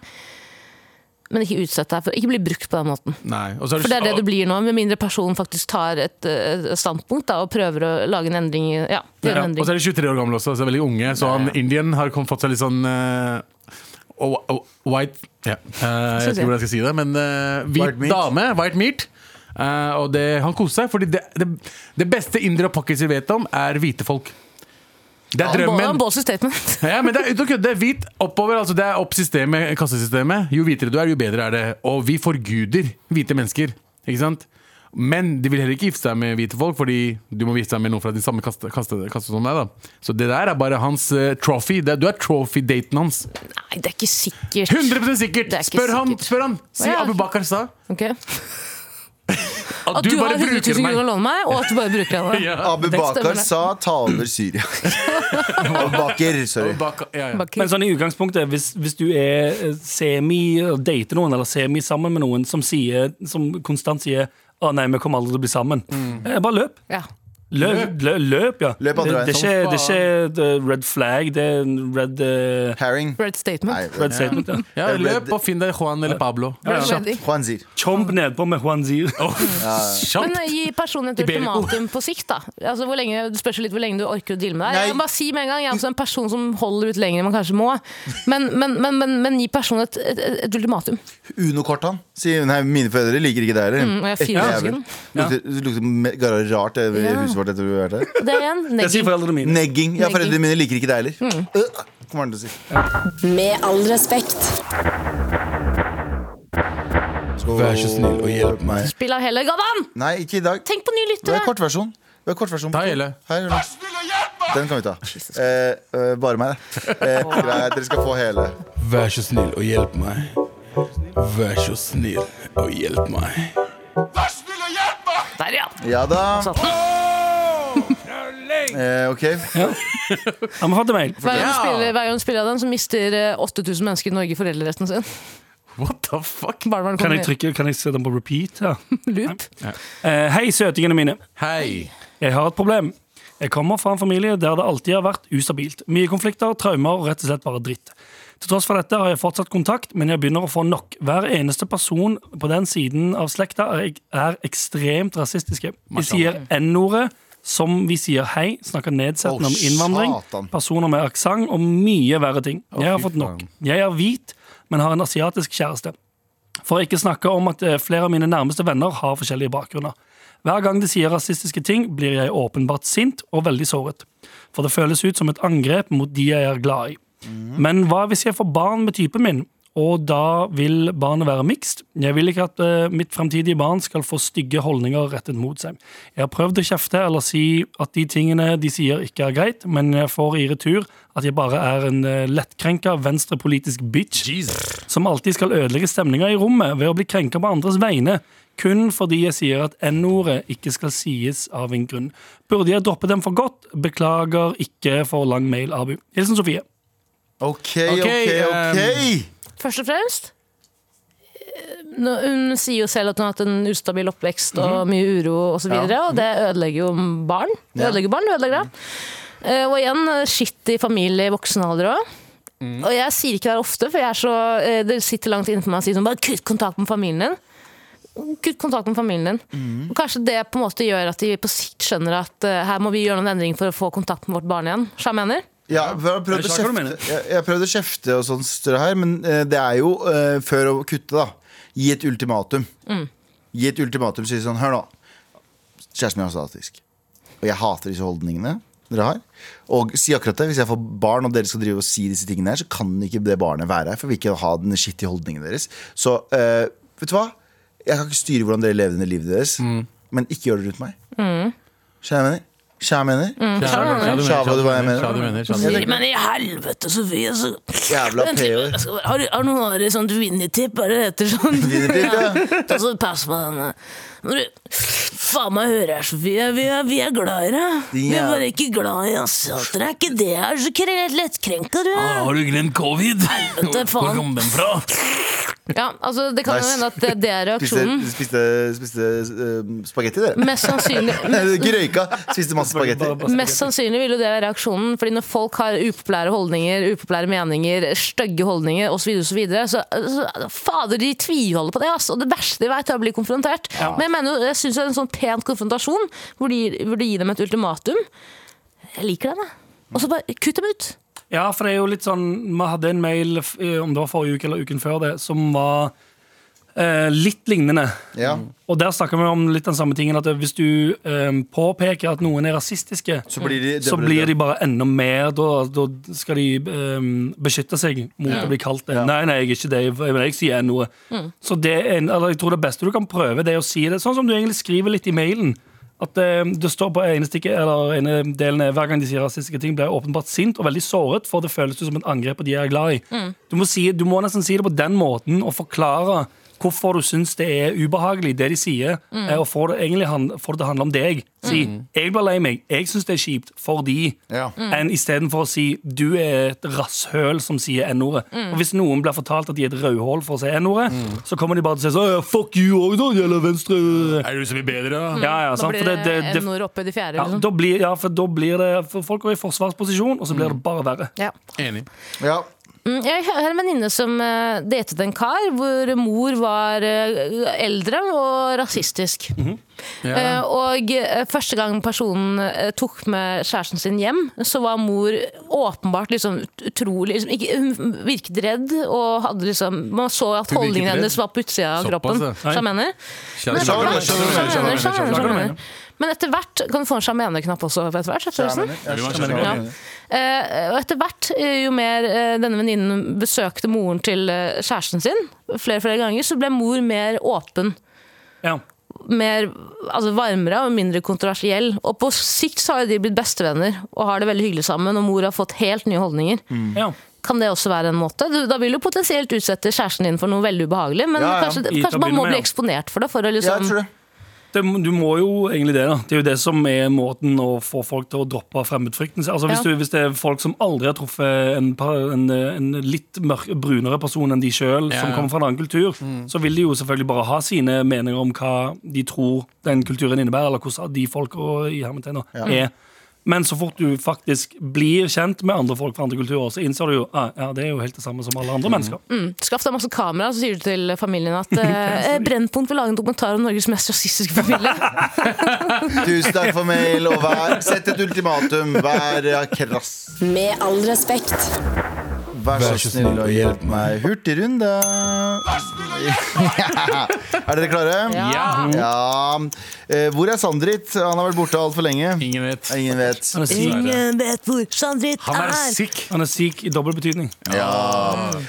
Speaker 3: Men ikke utsett deg for Ikke bli brukt på den måten.
Speaker 4: Nei, og så er
Speaker 3: For det er det du blir nå, med mindre personen faktisk tar et, eh, standpunkt da, og prøver å lage en endring. i- Ja, gjøre
Speaker 4: Ja,
Speaker 3: en
Speaker 4: og så
Speaker 3: endring.
Speaker 4: er de 23 år gamle også, så er veldig unge. Så han Indian har kom, fått seg litt sånn eh, og- og- White ja. eh, Jeg vet
Speaker 3: Synes jeg.
Speaker 4: ikke hvordan jeg skal si det, men eh, hvit
Speaker 2: White meat.
Speaker 4: dame. White meat. Eh, og det, han koste seg, Fordi det, det, det beste indere og pakkiser vet om, er hvite folk. Det er
Speaker 3: Bål-
Speaker 4: drømmen.
Speaker 3: Bålsens statement.
Speaker 4: Ja, men det er uten å kødde. Hvit oppover. Altså det er opp systemet, kassesystemet. Jo hvitere du er, jo bedre er det. Og vi forguder hvite mennesker. Ikke sant? Men de vil heller ikke gifte seg med hvite folk, fordi du må gifte deg med noen fra din samme kaste, kaste, kaste som deg. da Så det der er bare hans eh, trophy. Det, er- du er trophy-daten hans.
Speaker 3: Nei, det er ikke sikkert.
Speaker 4: 100 sikkert!
Speaker 3: Det er ikke
Speaker 4: Spør ham!
Speaker 3: sikkert.
Speaker 4: spør ham Si
Speaker 3: Ja.
Speaker 4: Abu Bakar sa
Speaker 3: Ok.
Speaker 4: at,
Speaker 3: At du, har 100 000 kroner å låne meg, og at du bare bruker henne.
Speaker 4: Ja.
Speaker 2: Abu
Speaker 3: Det stemmer,
Speaker 2: Bakar
Speaker 3: det.
Speaker 2: sa 'ta over Syria'. Abu Bakar, sorry.
Speaker 4: Abu Bakar, ja, ja.
Speaker 5: Men sånn i utgangspunktet, hvis, hvis du er eh, semi dater noen, eller semi sammen med noen som, sier, som konstant sier å nei, vi kommer aldri til å bli sammen. Eh, bare løp.
Speaker 3: Ja.
Speaker 5: Løp, løp, løp ja.
Speaker 2: Mm. Løp andre veien,
Speaker 5: det, det, er ikke, det er ikke eh, red flag, det er en red, eh,
Speaker 2: Herring.
Speaker 3: Red statement.
Speaker 2: Nei,
Speaker 5: red statement. Ja.
Speaker 4: ja, løp og finn deg Juan eller Pablo.
Speaker 3: Red
Speaker 5: Ja.
Speaker 3: wedding.
Speaker 2: Juan Zir.
Speaker 5: Chomp nedpå med Juan Zir.
Speaker 4: Kjapt!
Speaker 3: Men eh, gi personen et
Speaker 4: Iberico.
Speaker 3: ultimatum på sikt, da. Altså, hvor lenge, det spørs jo litt hvor lenge du orker å deale med det.
Speaker 2: Nei.
Speaker 3: Jeg kan bare si med en gang, jeg er også en person som holder ut lenger enn man kanskje må. Men, men, men, men, men gi personen et, et, et ultimatum.
Speaker 2: Uno-kortan. Sier hun, nei, mine foreldre liker ikke det heller.
Speaker 3: Mm, og jeg er fire
Speaker 2: Ekle
Speaker 3: år siden.
Speaker 2: jævel. Lukter, det lukter me- gara rart i huset vårt etter at du har vært her.
Speaker 3: Og Det er igjen
Speaker 5: Det sier
Speaker 3: negging.
Speaker 5: foreldrene mine.
Speaker 2: Negging. Ja,
Speaker 3: Negging. Mm.
Speaker 2: foreldrene mine liker ikke det heller. Øh, kommer han til å si.
Speaker 1: Med all respekt.
Speaker 7: Vær så snill og hjelp meg.
Speaker 3: Spill av hele Gavan!
Speaker 2: Nei, ikke i dag.
Speaker 3: Tenk på
Speaker 2: Det
Speaker 3: nye
Speaker 2: er
Speaker 3: lyttere!
Speaker 2: kortversjon. Det er kortversjon.
Speaker 4: Ta hele.
Speaker 2: Her, Jonas. Den kan vi ta. Eh, eh, bare meg, det. Eh, greit, dere skal få hele.
Speaker 7: Vær så snill og hjelp meg. Vær så snill og hjelp meg.
Speaker 3: Der, ja.
Speaker 2: Ja da.
Speaker 3: Satt den.
Speaker 2: Eh, ok.
Speaker 5: Han har fått en mail.
Speaker 3: Hver gang, du spiller, hver gang du spiller av den, så mister eh, 8000 mennesker i Norge foreldreretten sin.
Speaker 4: What the fuck?
Speaker 3: Barnevernet
Speaker 5: Kan jeg,
Speaker 3: kommer
Speaker 5: trykke, kan jeg se den på repeat? Ja.
Speaker 3: i loop.
Speaker 5: Eh, hei, søtingene mine.
Speaker 4: Hei!
Speaker 5: Jeg har et problem. Jeg kommer fra en familie der det alltid har vært ustabilt. Mye konflikter, traumer og rett og slett bare dritt. Til tross for dette har jeg fortsatt kontakt, men jeg begynner å få nok. Hver eneste person på den siden av slekta er, er ekstremt rasistiske. De sier N-ordet, som vi sier hei, snakker nedsettende
Speaker 2: Å,
Speaker 5: om innvandring,
Speaker 2: satan.
Speaker 5: personer med aksent og mye verre ting. Jeg har
Speaker 4: fy
Speaker 5: fått nok.
Speaker 4: faen.
Speaker 5: Jeg er hvit, men har en asiatisk kjæreste. For å ikke snakke om at eh, flere av mine nærmeste venner har forskjellige bakgrunner. Hver gang de sier rasistiske ting, blir jeg åpenbart sint og veldig såret. For det føles ut som et angrep mot de jeg er glad i. Men hva hvis jeg får barn med typen min, og da vil barnet være mixed? Jeg vil ikke at eh, mitt fremtidige barn skal få stygge holdninger rettet mot seg. Jeg har prøvd å kjefte eller si at de tingene de sier ikke er greit, men jeg får i retur at jeg bare er en eh, lettkrenka venstrepolitisk bitch
Speaker 4: Jesus.
Speaker 5: som alltid skal ødelegge stemninga i rommet ved å bli krenka på andres vegne, kun fordi jeg sier at N-ordet ikke skal sies av en grunn. Burde jeg droppe dem for godt? Beklager ikke for lang mail, Abu. Hilsen Sofie.
Speaker 2: Ok,
Speaker 4: Ok,
Speaker 2: ok, ok.
Speaker 3: Først og fremst eh, nå, Hun sier jo selv at hun har hatt en ustabil oppvekst og mye uro osv. videre Og det ødelegger jo barn. Det
Speaker 2: Ja.
Speaker 3: ødelegger barn, det ødelegger det. Eh, og igjen, eh, shit i familie i voksen alder òg. Og jeg sier ikke det her ofte, for jeg er så, eh, det sitter langt innenfor meg å si sånn Bare kutt kontakt med familien din. Kutt kontakt med familien din. Og kanskje det på en måte gjør at de på sikt skjønner at eh, her må vi gjøre noen endring for å få kontakt med vårt barn igjen. Skjønner du hva jeg mener?
Speaker 2: Ja, jeg har prøvd å
Speaker 5: Jeg skjønner hva du
Speaker 2: kjefte, jeg, jeg har prøvd å kjefte og sånn større her, men eh, det er jo eh, før å kutte, da. Gi et ultimatum. Gi et ultimatum si sånn, hør nå. Kjæresten min er statisk. Og jeg hater disse holdningene dere har. Og si akkurat det, hvis jeg får barn og dere skal drive og si disse tingene her, så kan ikke det barnet være her, for vi vil ikke ha den skittige holdningen deres. Så eh, vet du hva? Jeg kan ikke styre hvordan dere lever under livet deres, men ikke gjør det rundt meg. Mm. Skjønner jeg mener? Skjønner jeg
Speaker 4: Mm.
Speaker 2: mener? Sja, hva du hva jeg mener.
Speaker 4: Sja, du mener. Sja, du mener.
Speaker 3: Men i helvete, Sofie, så
Speaker 2: Jævla
Speaker 3: Vent litt,
Speaker 2: PO.
Speaker 3: jeg skal bare- altså, Har, har noen av dere sånt vinnertipp? Er det det heter sånn?
Speaker 2: Vinnertipp, ja.
Speaker 3: Altså, pass på denne. Når du faen meg hører her, Sofie. Vi er, vi er glad i deg. Vi er
Speaker 2: Ja.
Speaker 3: bare ikke glad i asiater. Er ikke det her så kre- lettkrenka du
Speaker 4: Ah,
Speaker 3: er?
Speaker 7: Har du glemt covid?
Speaker 3: Helvete, faen.
Speaker 7: den fra?
Speaker 3: Ja, altså, det
Speaker 2: kan jo Nice. hende
Speaker 3: at det er
Speaker 2: Spiste, spiste, spiste eh, spagetti, dere?
Speaker 3: Mest sannsynlig
Speaker 2: Nei, Ikke røyka. Spiste masse spagetti.
Speaker 3: Mest sannsynlig vil jo det være reaksjonen. Fordi når folk har upopulære holdninger, upopulære meninger, stygge holdninger osv., så, videre, og så, videre, så så- Fader, de tviholder på det. Ass. Og det verste de vet, er å bli konfrontert. Men jeg mener jo, jeg syns en sånn pen konfrontasjon, hvor de burde gi dem et ultimatum Jeg liker den, jeg. Og så bare kutt dem ut.
Speaker 5: Ja, for det er jo litt sånn Vi hadde en mail, f- eh, om det var forrige uke eller uken før det, som var eh, eh, litt lignende.
Speaker 2: Ja.
Speaker 5: Og der snakker vi om litt den samme tingen, at hvis du eh, påpeker at noen er rasistiske,
Speaker 2: Så blir de,
Speaker 5: så blir de bare enda mer Da, da skal de ehm, beskytte seg mot å bli kalt det. Nei, nei, jeg er ikke det. Jeg, men jeg sier noe. Så det er, en- eller jeg tror det beste du kan prøve, det er å si det sånn som du egentlig skriver litt i mailen. At ehm, det står på ene stikket, eller ene delen er, Hver gang de sier rasistiske ting, blir jeg åpenbart sint og veldig såret, for det føles jo som et angrep på de jeg er glad i. Du, må si, du må nesten si det på den måten og forklare hvorfor du syns det er ubehagelig, det de sier,
Speaker 3: Mm.
Speaker 5: eh, og får det egentlig han- får det til å handle om deg. Si 'jeg blir lei meg', 'jeg syns det er kjipt', fordi
Speaker 2: Ja.
Speaker 3: Mm.
Speaker 5: enn istedenfor å si 'du er et rasshøl som sier n-ordet'.
Speaker 3: Mm.
Speaker 5: Og Hvis noen blir fortalt at de er et rødhål for å si n-ordet, så kommer de bare til å si sånn «Ja, 'fuck you òg, da, jævla venstre'.
Speaker 4: Er du så mye bedre, da?
Speaker 5: Ja, ja,
Speaker 3: Mm. Da
Speaker 5: sant?
Speaker 3: blir
Speaker 5: For
Speaker 3: det,
Speaker 5: det, det, det,
Speaker 3: n-ord oppe i det fjerde.
Speaker 5: ja,
Speaker 3: Liksom.
Speaker 5: da blir, ja, for da blir det for Folk går i forsvarsposisjon, og så blir det bare verre.
Speaker 3: Ja.
Speaker 4: Enig.
Speaker 2: Ja.
Speaker 3: Mm, Jeg har en venninne som eh, datet en kar hvor mor var eh, eldre og rasistisk. Eh, og eh, første gang personen eh, tok med kjæresten sin hjem, så var mor åpenbart liksom ut- utrolig liksom, ikke, Hun virket redd, og hadde liksom Man så at
Speaker 4: Hun virket
Speaker 3: holdningen
Speaker 4: redd?
Speaker 3: hennes var på utsida av
Speaker 4: Såpass,
Speaker 3: kroppen.
Speaker 4: ja.
Speaker 3: Skjønner du hva jeg mener?
Speaker 4: Skjønner,
Speaker 2: skjønner,
Speaker 4: skjønner, skjønner, skjønner, skjønner, skjønner, skjønner, skjønner.
Speaker 3: skjønner. Men etter hvert kan du få en sjarmerende-knapp også. Etter hvert, forresten. Ja. Eh, og etter hvert, eh, jo mer eh, denne venninnen besøkte moren til eh, kjæresten sin, flere flere ganger, så ble mor mer åpen.
Speaker 5: Ja.
Speaker 3: Mer altså varmere og mindre kontroversiell. Og på sikt så har jo de blitt bestevenner og har det veldig hyggelig sammen. Og mor har fått helt nye holdninger.
Speaker 5: Ja.
Speaker 3: Kan det også være en måte? Du, da vil du potensielt utsette kjæresten din for noe veldig ubehagelig, men
Speaker 2: Ja, ja.
Speaker 3: kanskje,
Speaker 5: I-
Speaker 3: kanskje
Speaker 5: til
Speaker 3: man må
Speaker 5: å begynne med,
Speaker 3: bli
Speaker 5: ja.
Speaker 3: eksponert for det. For å
Speaker 2: Ja, jeg
Speaker 3: liksom,
Speaker 2: tror det.
Speaker 5: Det, du må jo egentlig det. da Det er jo det som er måten å få folk til å droppe fremmedfrykten. Altså, hvis,
Speaker 3: Ja.
Speaker 5: du, hvis det er folk som aldri har truffet en, pa- en, en litt mørk, brunere person enn de sjøl,
Speaker 4: Ja,
Speaker 5: som
Speaker 4: ja.
Speaker 5: kommer fra en annen kultur, så vil de jo selvfølgelig bare ha sine meninger om hva de tror den kulturen innebærer, eller hvordan de folka i hermetegner er. Men så fort du faktisk blir kjent med andre folk fra andre kulturer, så innser du jo ah, ja, det er jo helt det samme som alle andre mennesker.
Speaker 3: mm, skaff deg masse kamera, så sier du til familien at eh, Brennpunkt vil lage en dokumentar om Norges mest rasistiske familie.
Speaker 2: Tusen takk for mail, og vær Sett et ultimatum. Vær ja, krass.
Speaker 9: Med all respekt.
Speaker 2: Vær så snill og hjelp meg. Hurtigrunde. Ja. Er dere klare?
Speaker 4: Ja.
Speaker 2: Ja. Eh, Hvor er Sandrit? Han har vært borte altfor lenge.
Speaker 4: Ingen vet.
Speaker 2: Ingen vet.
Speaker 5: Han er syk,
Speaker 3: Ingen vet hvor Sandrit
Speaker 4: Han er
Speaker 3: er.
Speaker 4: sick. Eh,
Speaker 5: han er syk i dobbel betydning.
Speaker 2: Ja.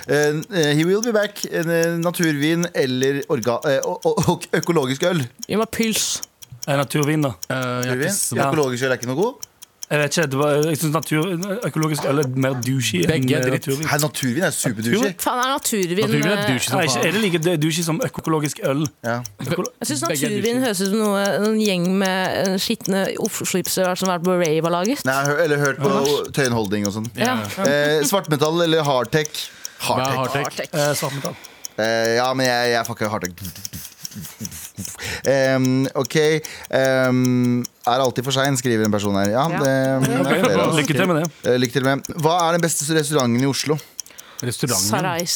Speaker 2: Eh, eh, He will be back. En, eh, Naturvin eller orga eh, og- og- og økologisk øl.
Speaker 3: Gi meg pils.
Speaker 5: Eh, Naturvin, da.
Speaker 4: Eh, jeg er
Speaker 2: Naturvin?
Speaker 4: ikke så-
Speaker 2: Økologisk øl er ikke noe god?
Speaker 5: Jeg vet ikke, det var, jeg synes natur, økologisk øl er mer douchey enn
Speaker 4: Begge er dritt.
Speaker 5: naturvin.
Speaker 2: Her, naturvin er superdusjy.
Speaker 3: Faen, er naturvin
Speaker 4: Naturvin er
Speaker 3: eh,
Speaker 4: douche som
Speaker 5: Nei, ikke, er
Speaker 4: faen.
Speaker 5: det like douchey som økologisk øl?
Speaker 2: Ja.
Speaker 5: Økolo
Speaker 3: Jeg syns
Speaker 4: Begge er
Speaker 3: naturvin
Speaker 4: douche.
Speaker 3: høres ut som noe en gjeng med eh, skitne Oslo-slipser har som har vært på rave har laget.
Speaker 2: Nei, jeg har hø- eller hørt på Tøyen Holding og sånn.
Speaker 3: Ja.
Speaker 2: Eh, svartmetall eller hardtech?
Speaker 4: Hva er
Speaker 2: Hardtech.
Speaker 4: hardtech?
Speaker 5: eh, svartmetall.
Speaker 2: Eh, ja, men jeg, jeg fucker hardtech. Em, ok. em, er alltid for sein, skriver en person her. Ja,
Speaker 3: Ja.
Speaker 2: det, det er flere av oss.
Speaker 5: Lykke til med det.
Speaker 2: Eh, Lykke til med. Hva er den beste restauranten i Oslo?
Speaker 4: Restauranten.
Speaker 3: Sarais.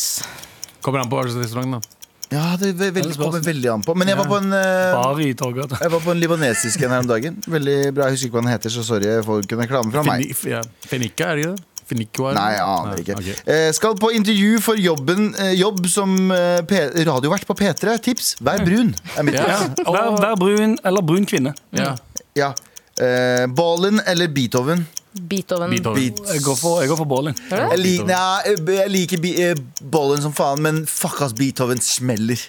Speaker 4: Kommer an på hva slags restaurant, da.
Speaker 5: Eh.
Speaker 2: Ja, det ve- veldig,
Speaker 5: Det er
Speaker 2: kommer veldig an på. Men jeg var på en eh,
Speaker 5: Bare i Torgata.
Speaker 2: jeg var på en libanesisk en her om dagen. Veldig bra, Jeg husker ikke hva den heter, så sorry. Jeg får ikke en reklame fra meg.
Speaker 4: Fini- f- ja. Fenica, er det ikke det? Finico er det?
Speaker 2: Nei, jeg aner
Speaker 4: Nei,
Speaker 2: ikke.
Speaker 4: ok.
Speaker 2: Eh, skal på intervju for jobben, eh, jobb som eh, P radiovert på P3. Tips vær brun. Er mitt tips.
Speaker 4: Ja.
Speaker 5: Vær,
Speaker 4: Og,
Speaker 5: vær brun eller brun kvinne.
Speaker 4: ja.
Speaker 2: Ja. Eh, Ballen eller Beethoven?
Speaker 3: Beethoven.
Speaker 4: Beethoven.
Speaker 2: Beat.
Speaker 5: Jeg går for, jeg går for Borlin.
Speaker 2: Jeg, lik, ja, jeg liker Be- eh, Bollen som faen, men fuck ass, Beethoven smeller.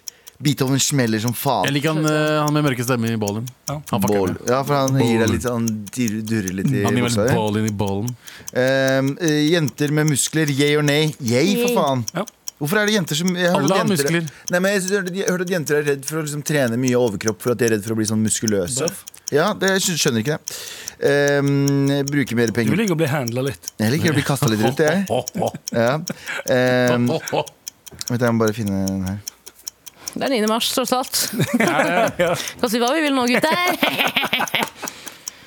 Speaker 2: Beethoven smeller som
Speaker 4: Jeg
Speaker 2: faen.
Speaker 4: liker han, eh, han med mørke stemme i bollen.
Speaker 5: Ja.
Speaker 4: Han fucker
Speaker 2: Boll.
Speaker 4: med.
Speaker 2: Ja, for han gir deg
Speaker 4: Ball.
Speaker 2: litt Han dirrer- durrer litt i
Speaker 4: Han gir
Speaker 2: buksa
Speaker 4: vel
Speaker 2: di.
Speaker 4: ball inn i bollen.
Speaker 2: Ehm, eh, Jenter med muskler, yay or nay? Yay, for
Speaker 3: Yay.
Speaker 2: faen.
Speaker 5: Ja.
Speaker 2: Hvorfor er det jenter som jeg har hørt
Speaker 4: Alle
Speaker 2: at
Speaker 4: har
Speaker 2: jenter-
Speaker 4: muskler.
Speaker 2: Nei, men jeg synes- jeg har hørt- jeg har hørt at jenter er redd for å liksom trene mye overkropp for at de er redd for å bli sånn muskuløse.
Speaker 5: Bøff.
Speaker 2: Ja, det, jeg skj- skjønner ikke det. Ehm, jeg bruker mer
Speaker 5: Du
Speaker 2: penger.
Speaker 5: liker å bli handla litt.
Speaker 2: Jeg liker å bli kasta litt rundt, jeg.
Speaker 4: Ho, ho,
Speaker 2: Ja. Ehm,
Speaker 4: ho, ho.
Speaker 2: Vent, jeg må bare finne den her.
Speaker 3: Det er 9. mars, tross alt. Kan si hva vi vil nå, gutter.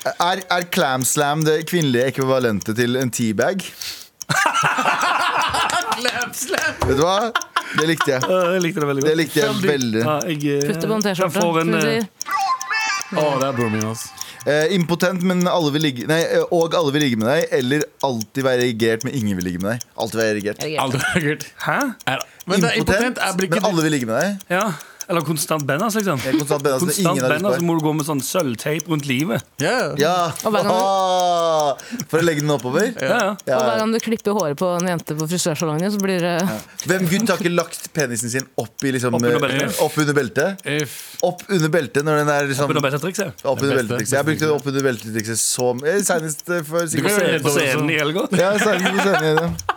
Speaker 2: Er, er clam slam det kvinnelige ekvivalentet til en teabag? Vet du hva? Det likte jeg.
Speaker 5: Eh, Jeg likte det veldig
Speaker 2: Det
Speaker 5: godt.
Speaker 2: likte jeg veldig.
Speaker 5: Ja, jeg, eh,
Speaker 3: Putte på en
Speaker 5: jeg
Speaker 3: T-skjorte.
Speaker 5: får en,
Speaker 3: som du
Speaker 5: eh,
Speaker 3: sier.
Speaker 4: Å, det er broren min, ass.
Speaker 2: Eh, impotent, men alle vil ligge Nei, eh, og alle vil ligge med deg. Eller alltid være erigert, men ingen vil ligge med deg. Alltid være erigert.
Speaker 4: Aldri hørt.
Speaker 5: Hæ?
Speaker 4: Er- Men det er impotent. Er blikket
Speaker 2: men alle vil ligge med deg.
Speaker 5: Ja. Eller konstant Bennas, liksom.
Speaker 2: Jeg er konstant Bennas, men
Speaker 5: Konstant
Speaker 2: ingen har lyst på
Speaker 5: Bennas,
Speaker 2: deg.
Speaker 5: så må du gå med sånn sølvteip rundt livet.
Speaker 4: Ja.
Speaker 2: Ja.
Speaker 3: Og Benjamin.
Speaker 2: Ah, for å legge den oppover?
Speaker 5: Ja, ja.
Speaker 3: Og
Speaker 2: Ja.
Speaker 3: hver gang du klipper håret på en jente på frisørsalongen, så blir det
Speaker 2: Hvem gutt har ikke lagt penisen sin opp, i liksom,
Speaker 5: Opp under beltet.
Speaker 2: eh, opp under beltet?
Speaker 4: If.
Speaker 2: Opp under beltet når den er liksom
Speaker 5: Under beltetrikset.
Speaker 2: Opp under
Speaker 4: Det beste.
Speaker 2: beltetrikset. Jeg brukte det opp under beltetrikset så mye. Senest eh, for
Speaker 4: kan
Speaker 2: sikkert
Speaker 4: gjøre
Speaker 5: På scenen
Speaker 4: sånn.
Speaker 5: i helga.
Speaker 2: Ja, senest for senere. ja.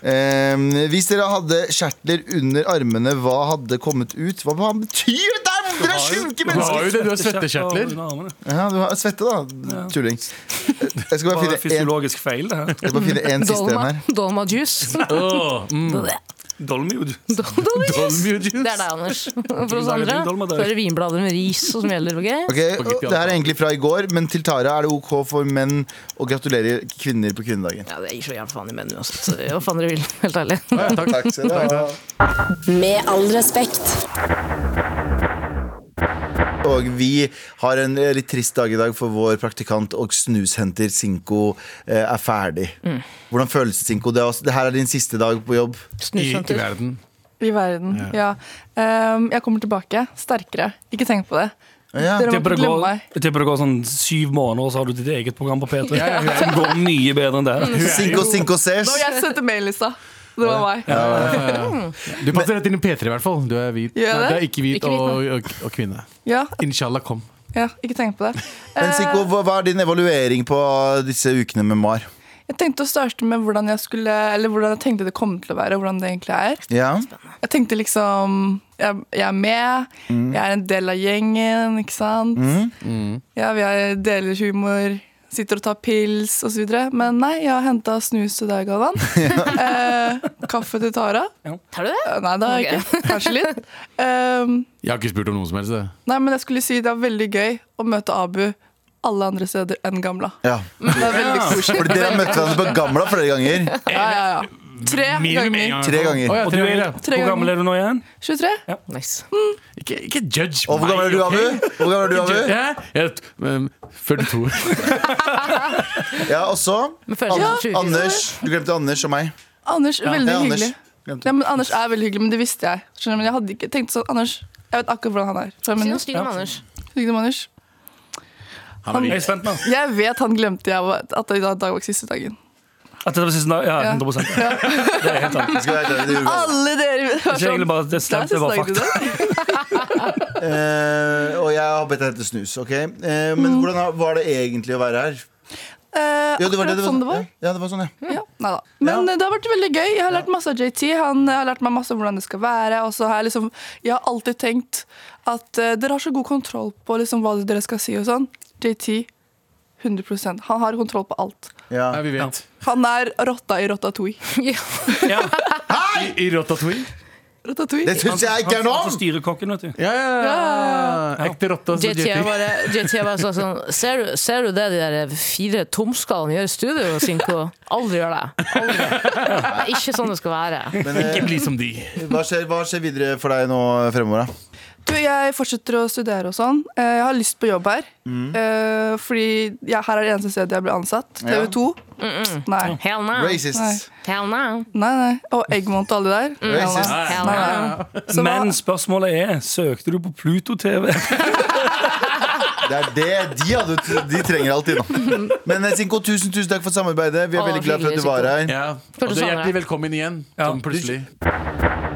Speaker 2: Ehm, hvis dere hadde kjertler under armene, hva hadde kommet ut? Hva hva betyr det der? Dere er sjuke
Speaker 4: Du har
Speaker 2: mennesker!
Speaker 4: jo det, du har
Speaker 5: Kjeft og
Speaker 4: svettekjertler.
Speaker 5: under armene.
Speaker 2: Ja, du har svette, da. Tulling. Jeg skal bare
Speaker 5: Bare
Speaker 2: finne en,
Speaker 5: fysiologisk feil, det her.
Speaker 2: jeg skal bare finne en siste en
Speaker 3: Dolma,
Speaker 2: her.
Speaker 3: dolma juice.
Speaker 4: Åh, mm.
Speaker 5: Dolmejud.
Speaker 3: Do- Dolma juice.
Speaker 4: Dolmio juice.
Speaker 3: Det er deg, Anders. For oss andre
Speaker 5: Dolma
Speaker 3: så
Speaker 5: der.
Speaker 3: er det vinblader med ris som gjelder. ok?
Speaker 2: Ok, og Det her er egentlig fra i går, men til Tara er det OK for menn å gratulere kvinner på kvinnedagen.
Speaker 3: Ja, det gir så jævlig faen i menn uansett. så Hva faen dere vil, helt ærlig.
Speaker 2: Takk skal dere ha.
Speaker 9: Med all respekt.
Speaker 2: Og vi har en eh, litt trist dag i dag, for vår praktikant og snushenter Sinko eh, er ferdig. Hvordan føles det, Sinko? Det, er også- det her er din siste dag på jobb.
Speaker 4: I, I
Speaker 3: Snushunter.
Speaker 4: verden.
Speaker 10: I verden, ja. Ehm, jeg kommer tilbake sterkere. Ikke tenk på det.
Speaker 2: Ja.
Speaker 10: Dere må
Speaker 5: Tipper
Speaker 10: ikke
Speaker 5: det,
Speaker 10: glemme
Speaker 5: går,
Speaker 10: meg.
Speaker 5: jeg tipper det går sånn syv måneder, og så har du ditt eget program på P3.
Speaker 4: Ja, ja, ja.
Speaker 5: Som går mye bedre enn det.
Speaker 10: Mm.
Speaker 5: her.
Speaker 2: Sinko, Sinko ses!
Speaker 10: Når jeg sendte mail-lista, det var meg.
Speaker 4: Du passer rett inn i P3, i hvert fall. Du er hvit.
Speaker 10: Gjør jeg
Speaker 4: Nei,
Speaker 10: det?
Speaker 4: det er ikke hvit
Speaker 3: Ikke hvit,
Speaker 4: og, og, og kvinne.
Speaker 10: Ja,
Speaker 4: Inshallah, kom.
Speaker 10: ja, ikke tenk på det.
Speaker 2: Men Sinko, hva, hva er din evaluering på disse ukene med Mar?
Speaker 10: Jeg tenkte å starte med hvordan jeg skulle Eller hvordan jeg tenkte det kom til å være, og hvordan det egentlig er.
Speaker 2: Ja.
Speaker 10: Jeg tenkte liksom Jeg, jeg er med,
Speaker 2: Mm.
Speaker 10: jeg er en del av gjengen, ikke sant? Ja, vi er, deler humor, sitter og tar pils osv. Men nei, jeg har henta snus til deg, Galvan. eh, kaffe til Tara.
Speaker 3: Tar du det?
Speaker 10: Eh, Nei, det har jeg ikke. Kanskje litt. Um,
Speaker 4: Jeg har ikke spurt om noe som helst. det.
Speaker 10: nei, men jeg skulle si det var veldig gøy å møte Abu alle andre steder enn Gamla.
Speaker 2: ja.
Speaker 10: Det er veldig koselig.
Speaker 2: Fordi dere har møtt hverandre på Gamla flere ganger.
Speaker 10: Ja, ja, ja. Tre
Speaker 4: Minimum en
Speaker 10: ganger.
Speaker 4: gang. altså.
Speaker 2: Tre ganger.
Speaker 4: Å, ja,
Speaker 5: Og du
Speaker 4: tre
Speaker 5: er,
Speaker 4: ganger. ja.
Speaker 10: Tre
Speaker 5: hvor gammel
Speaker 10: ganger.
Speaker 5: er du nå igjen?
Speaker 10: 23?
Speaker 3: Nice.
Speaker 4: Ikke, ikke judge
Speaker 2: Og hvor gammel er du,
Speaker 4: ok?
Speaker 2: Abu? Hvor gammel er du, Abu?
Speaker 4: Ja, jeg, um, 42.
Speaker 2: Ja, og så
Speaker 3: Men føles som
Speaker 2: An-
Speaker 3: sjukt.
Speaker 2: Anders. Du glemte Anders og meg.
Speaker 10: Anders, veldig
Speaker 2: Ja, Anders.
Speaker 10: hyggelig.
Speaker 2: Glemte.
Speaker 10: Ja, men Anders er veldig hyggelig, men det visste jeg. Skjønner, du, men jeg hadde ikke tenkt sånn, Anders, jeg vet akkurat hvordan han er. Fem
Speaker 3: Si noe
Speaker 10: minutter.
Speaker 3: stygt om Anders.
Speaker 10: Hyggelig med Anders.
Speaker 4: Han
Speaker 5: Jeg
Speaker 4: er
Speaker 5: er spent nå.
Speaker 10: Jeg vet han glemte jeg var, at i dag var siste dagen.
Speaker 5: At det var siste dag? Ja,
Speaker 10: Ja.
Speaker 5: 100
Speaker 2: Jeg skal være ærlig, det gjorde jeg.
Speaker 10: Alle dere var
Speaker 5: Ikke egentlig
Speaker 10: sånn.
Speaker 5: bare at det er slemt, det var
Speaker 10: siste
Speaker 5: fakta.
Speaker 10: dagen i dag.
Speaker 2: Eh, og jeg har bedt deg hente snus, ok? Eh, men hvordan har- var det egentlig å være her?
Speaker 10: Eh,
Speaker 2: Ja, det var
Speaker 10: akkurat
Speaker 2: det, det var,
Speaker 10: sånn det var.
Speaker 2: Ja, det var sånn, ja.
Speaker 10: Ja, nei da. Men
Speaker 2: Ja.
Speaker 10: eh, det har vært veldig gøy. Jeg har lært masse av JT. Han eh, har lært meg masse om hvordan det skal være. Og så har jeg liksom Jeg har alltid tenkt at eh, dere har så god kontroll på liksom hva dere skal si og sånn. JT 100 Han har kontroll på alt.
Speaker 2: ja.
Speaker 4: Ja, vi vet.
Speaker 10: Han er rotta i Rotatouille.
Speaker 5: Ja.
Speaker 4: I, i Ratatouille.
Speaker 10: Rotatouille.
Speaker 2: Det syns jeg ikke er
Speaker 5: Han
Speaker 2: noe!
Speaker 5: som styrer kokken, vet du.
Speaker 4: Ja, ja, ja. Ekte rotte. altså,
Speaker 3: JT er
Speaker 4: JT.
Speaker 3: bare, JT er bare sånn, sånn ser, du, ser du det de der fire tomskallene gjør i studio, Sinko? Aldri gjør det. Aldri. Det er ikke sånn det skal være.
Speaker 2: Men eh,
Speaker 4: Ikke bli som de.
Speaker 2: hva, skjer, hva skjer videre for deg nå eh, fremover, da?
Speaker 10: Du, jeg fortsetter å studere og sånn. Eh, Jeg har lyst på jobb her.
Speaker 2: Mm.
Speaker 10: Eh, Fordi jeg, her er det eneste stedet jeg ble ansatt.
Speaker 2: Ja.
Speaker 10: TV 2. Nei.
Speaker 3: Hell no.
Speaker 10: Nei.
Speaker 2: Racist.
Speaker 3: Hell no.
Speaker 10: nei, nei. Og Eggmont og alle der.
Speaker 2: Racist.
Speaker 10: Nei,
Speaker 3: Hell
Speaker 10: nei.
Speaker 3: no.
Speaker 10: Så hva-
Speaker 5: Men spørsmålet er, søkte du på Pluto TV?
Speaker 2: Det er det de, hadde, de trenger alltid nå. Men eh, Sinko, tusen, tusen takk for samarbeidet. Vi er
Speaker 3: Å,
Speaker 2: veldig glad for at du
Speaker 3: hyggelig,
Speaker 2: var her.
Speaker 4: Ja. Og du er hjertelig velkommen igjen. Sånn plutselig.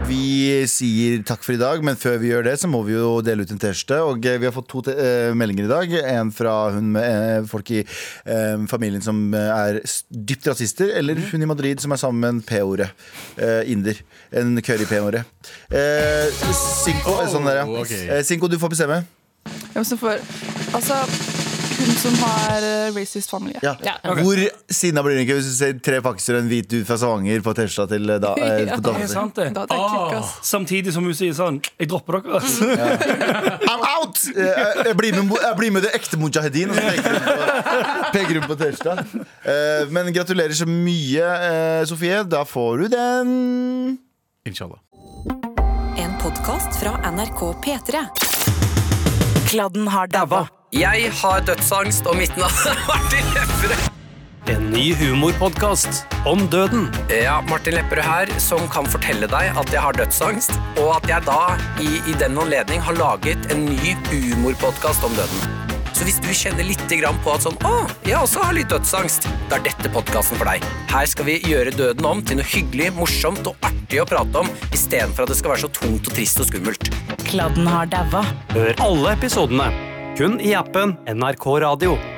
Speaker 2: Vi sier takk for i dag, men før vi gjør det, så må vi jo dele ut en T-skjorte. Og eh, vi har fått to te- eh, meldinger i dag. En fra hun med eh, folk i eh, familien som eh, er s- dypt rasister, eller
Speaker 4: Mhm.
Speaker 2: hun i Madrid som er sammen med en P-ordet. Eh, inder. En curry P-ordet. Eh, Sinko, eh, sånn der, ja.
Speaker 4: Oh, ok.
Speaker 2: Eh, Sinko, du får bestemme.
Speaker 10: Hvem som får Altså, hun som har eh, racist familie.
Speaker 2: Ja.
Speaker 3: Ja.
Speaker 2: Hvor sinna blir hun ikke hvis du ser tre pakkiser og en hvit dude fra Stavanger på T-skjorta til eh, da, eh, på
Speaker 5: Det
Speaker 2: dama
Speaker 5: er
Speaker 2: si?
Speaker 5: sant, det.
Speaker 10: Da hadde jeg klikket, ass.
Speaker 5: Samtidig som hun sier sånn Jeg dropper dere, altså.
Speaker 2: I'm out! Eh, Jeg, jeg, blir med, jeg blir med det ekte mujahedin. Og så peker hun på- peker hun på T-skjorta. Eh, Men gratulerer så mye, eh, Sofie. Da får du den.
Speaker 4: Inshallah.
Speaker 9: En podkast fra NRK P3. Kladden har daua.
Speaker 11: Jeg har dødsangst, og mitt navn er Martin Lepperød.
Speaker 12: En ny humorpodkast om døden.
Speaker 11: Ja, Martin Lepperød her, som kan fortelle deg at jeg har dødsangst, og at jeg da i, i den anledning har laget en ny humorpodkast om døden. Så hvis du kjenner litt grann på at sånn, å, jeg også har litt dødsangst, da er dette podkasten for deg. Her skal vi gjøre døden om til noe hyggelig, morsomt og artig å prate om, istedenfor at det skal være så tungt og trist og skummelt.
Speaker 13: Kladden har daua.
Speaker 12: Hør alle episodene kun i appen NRK Radio.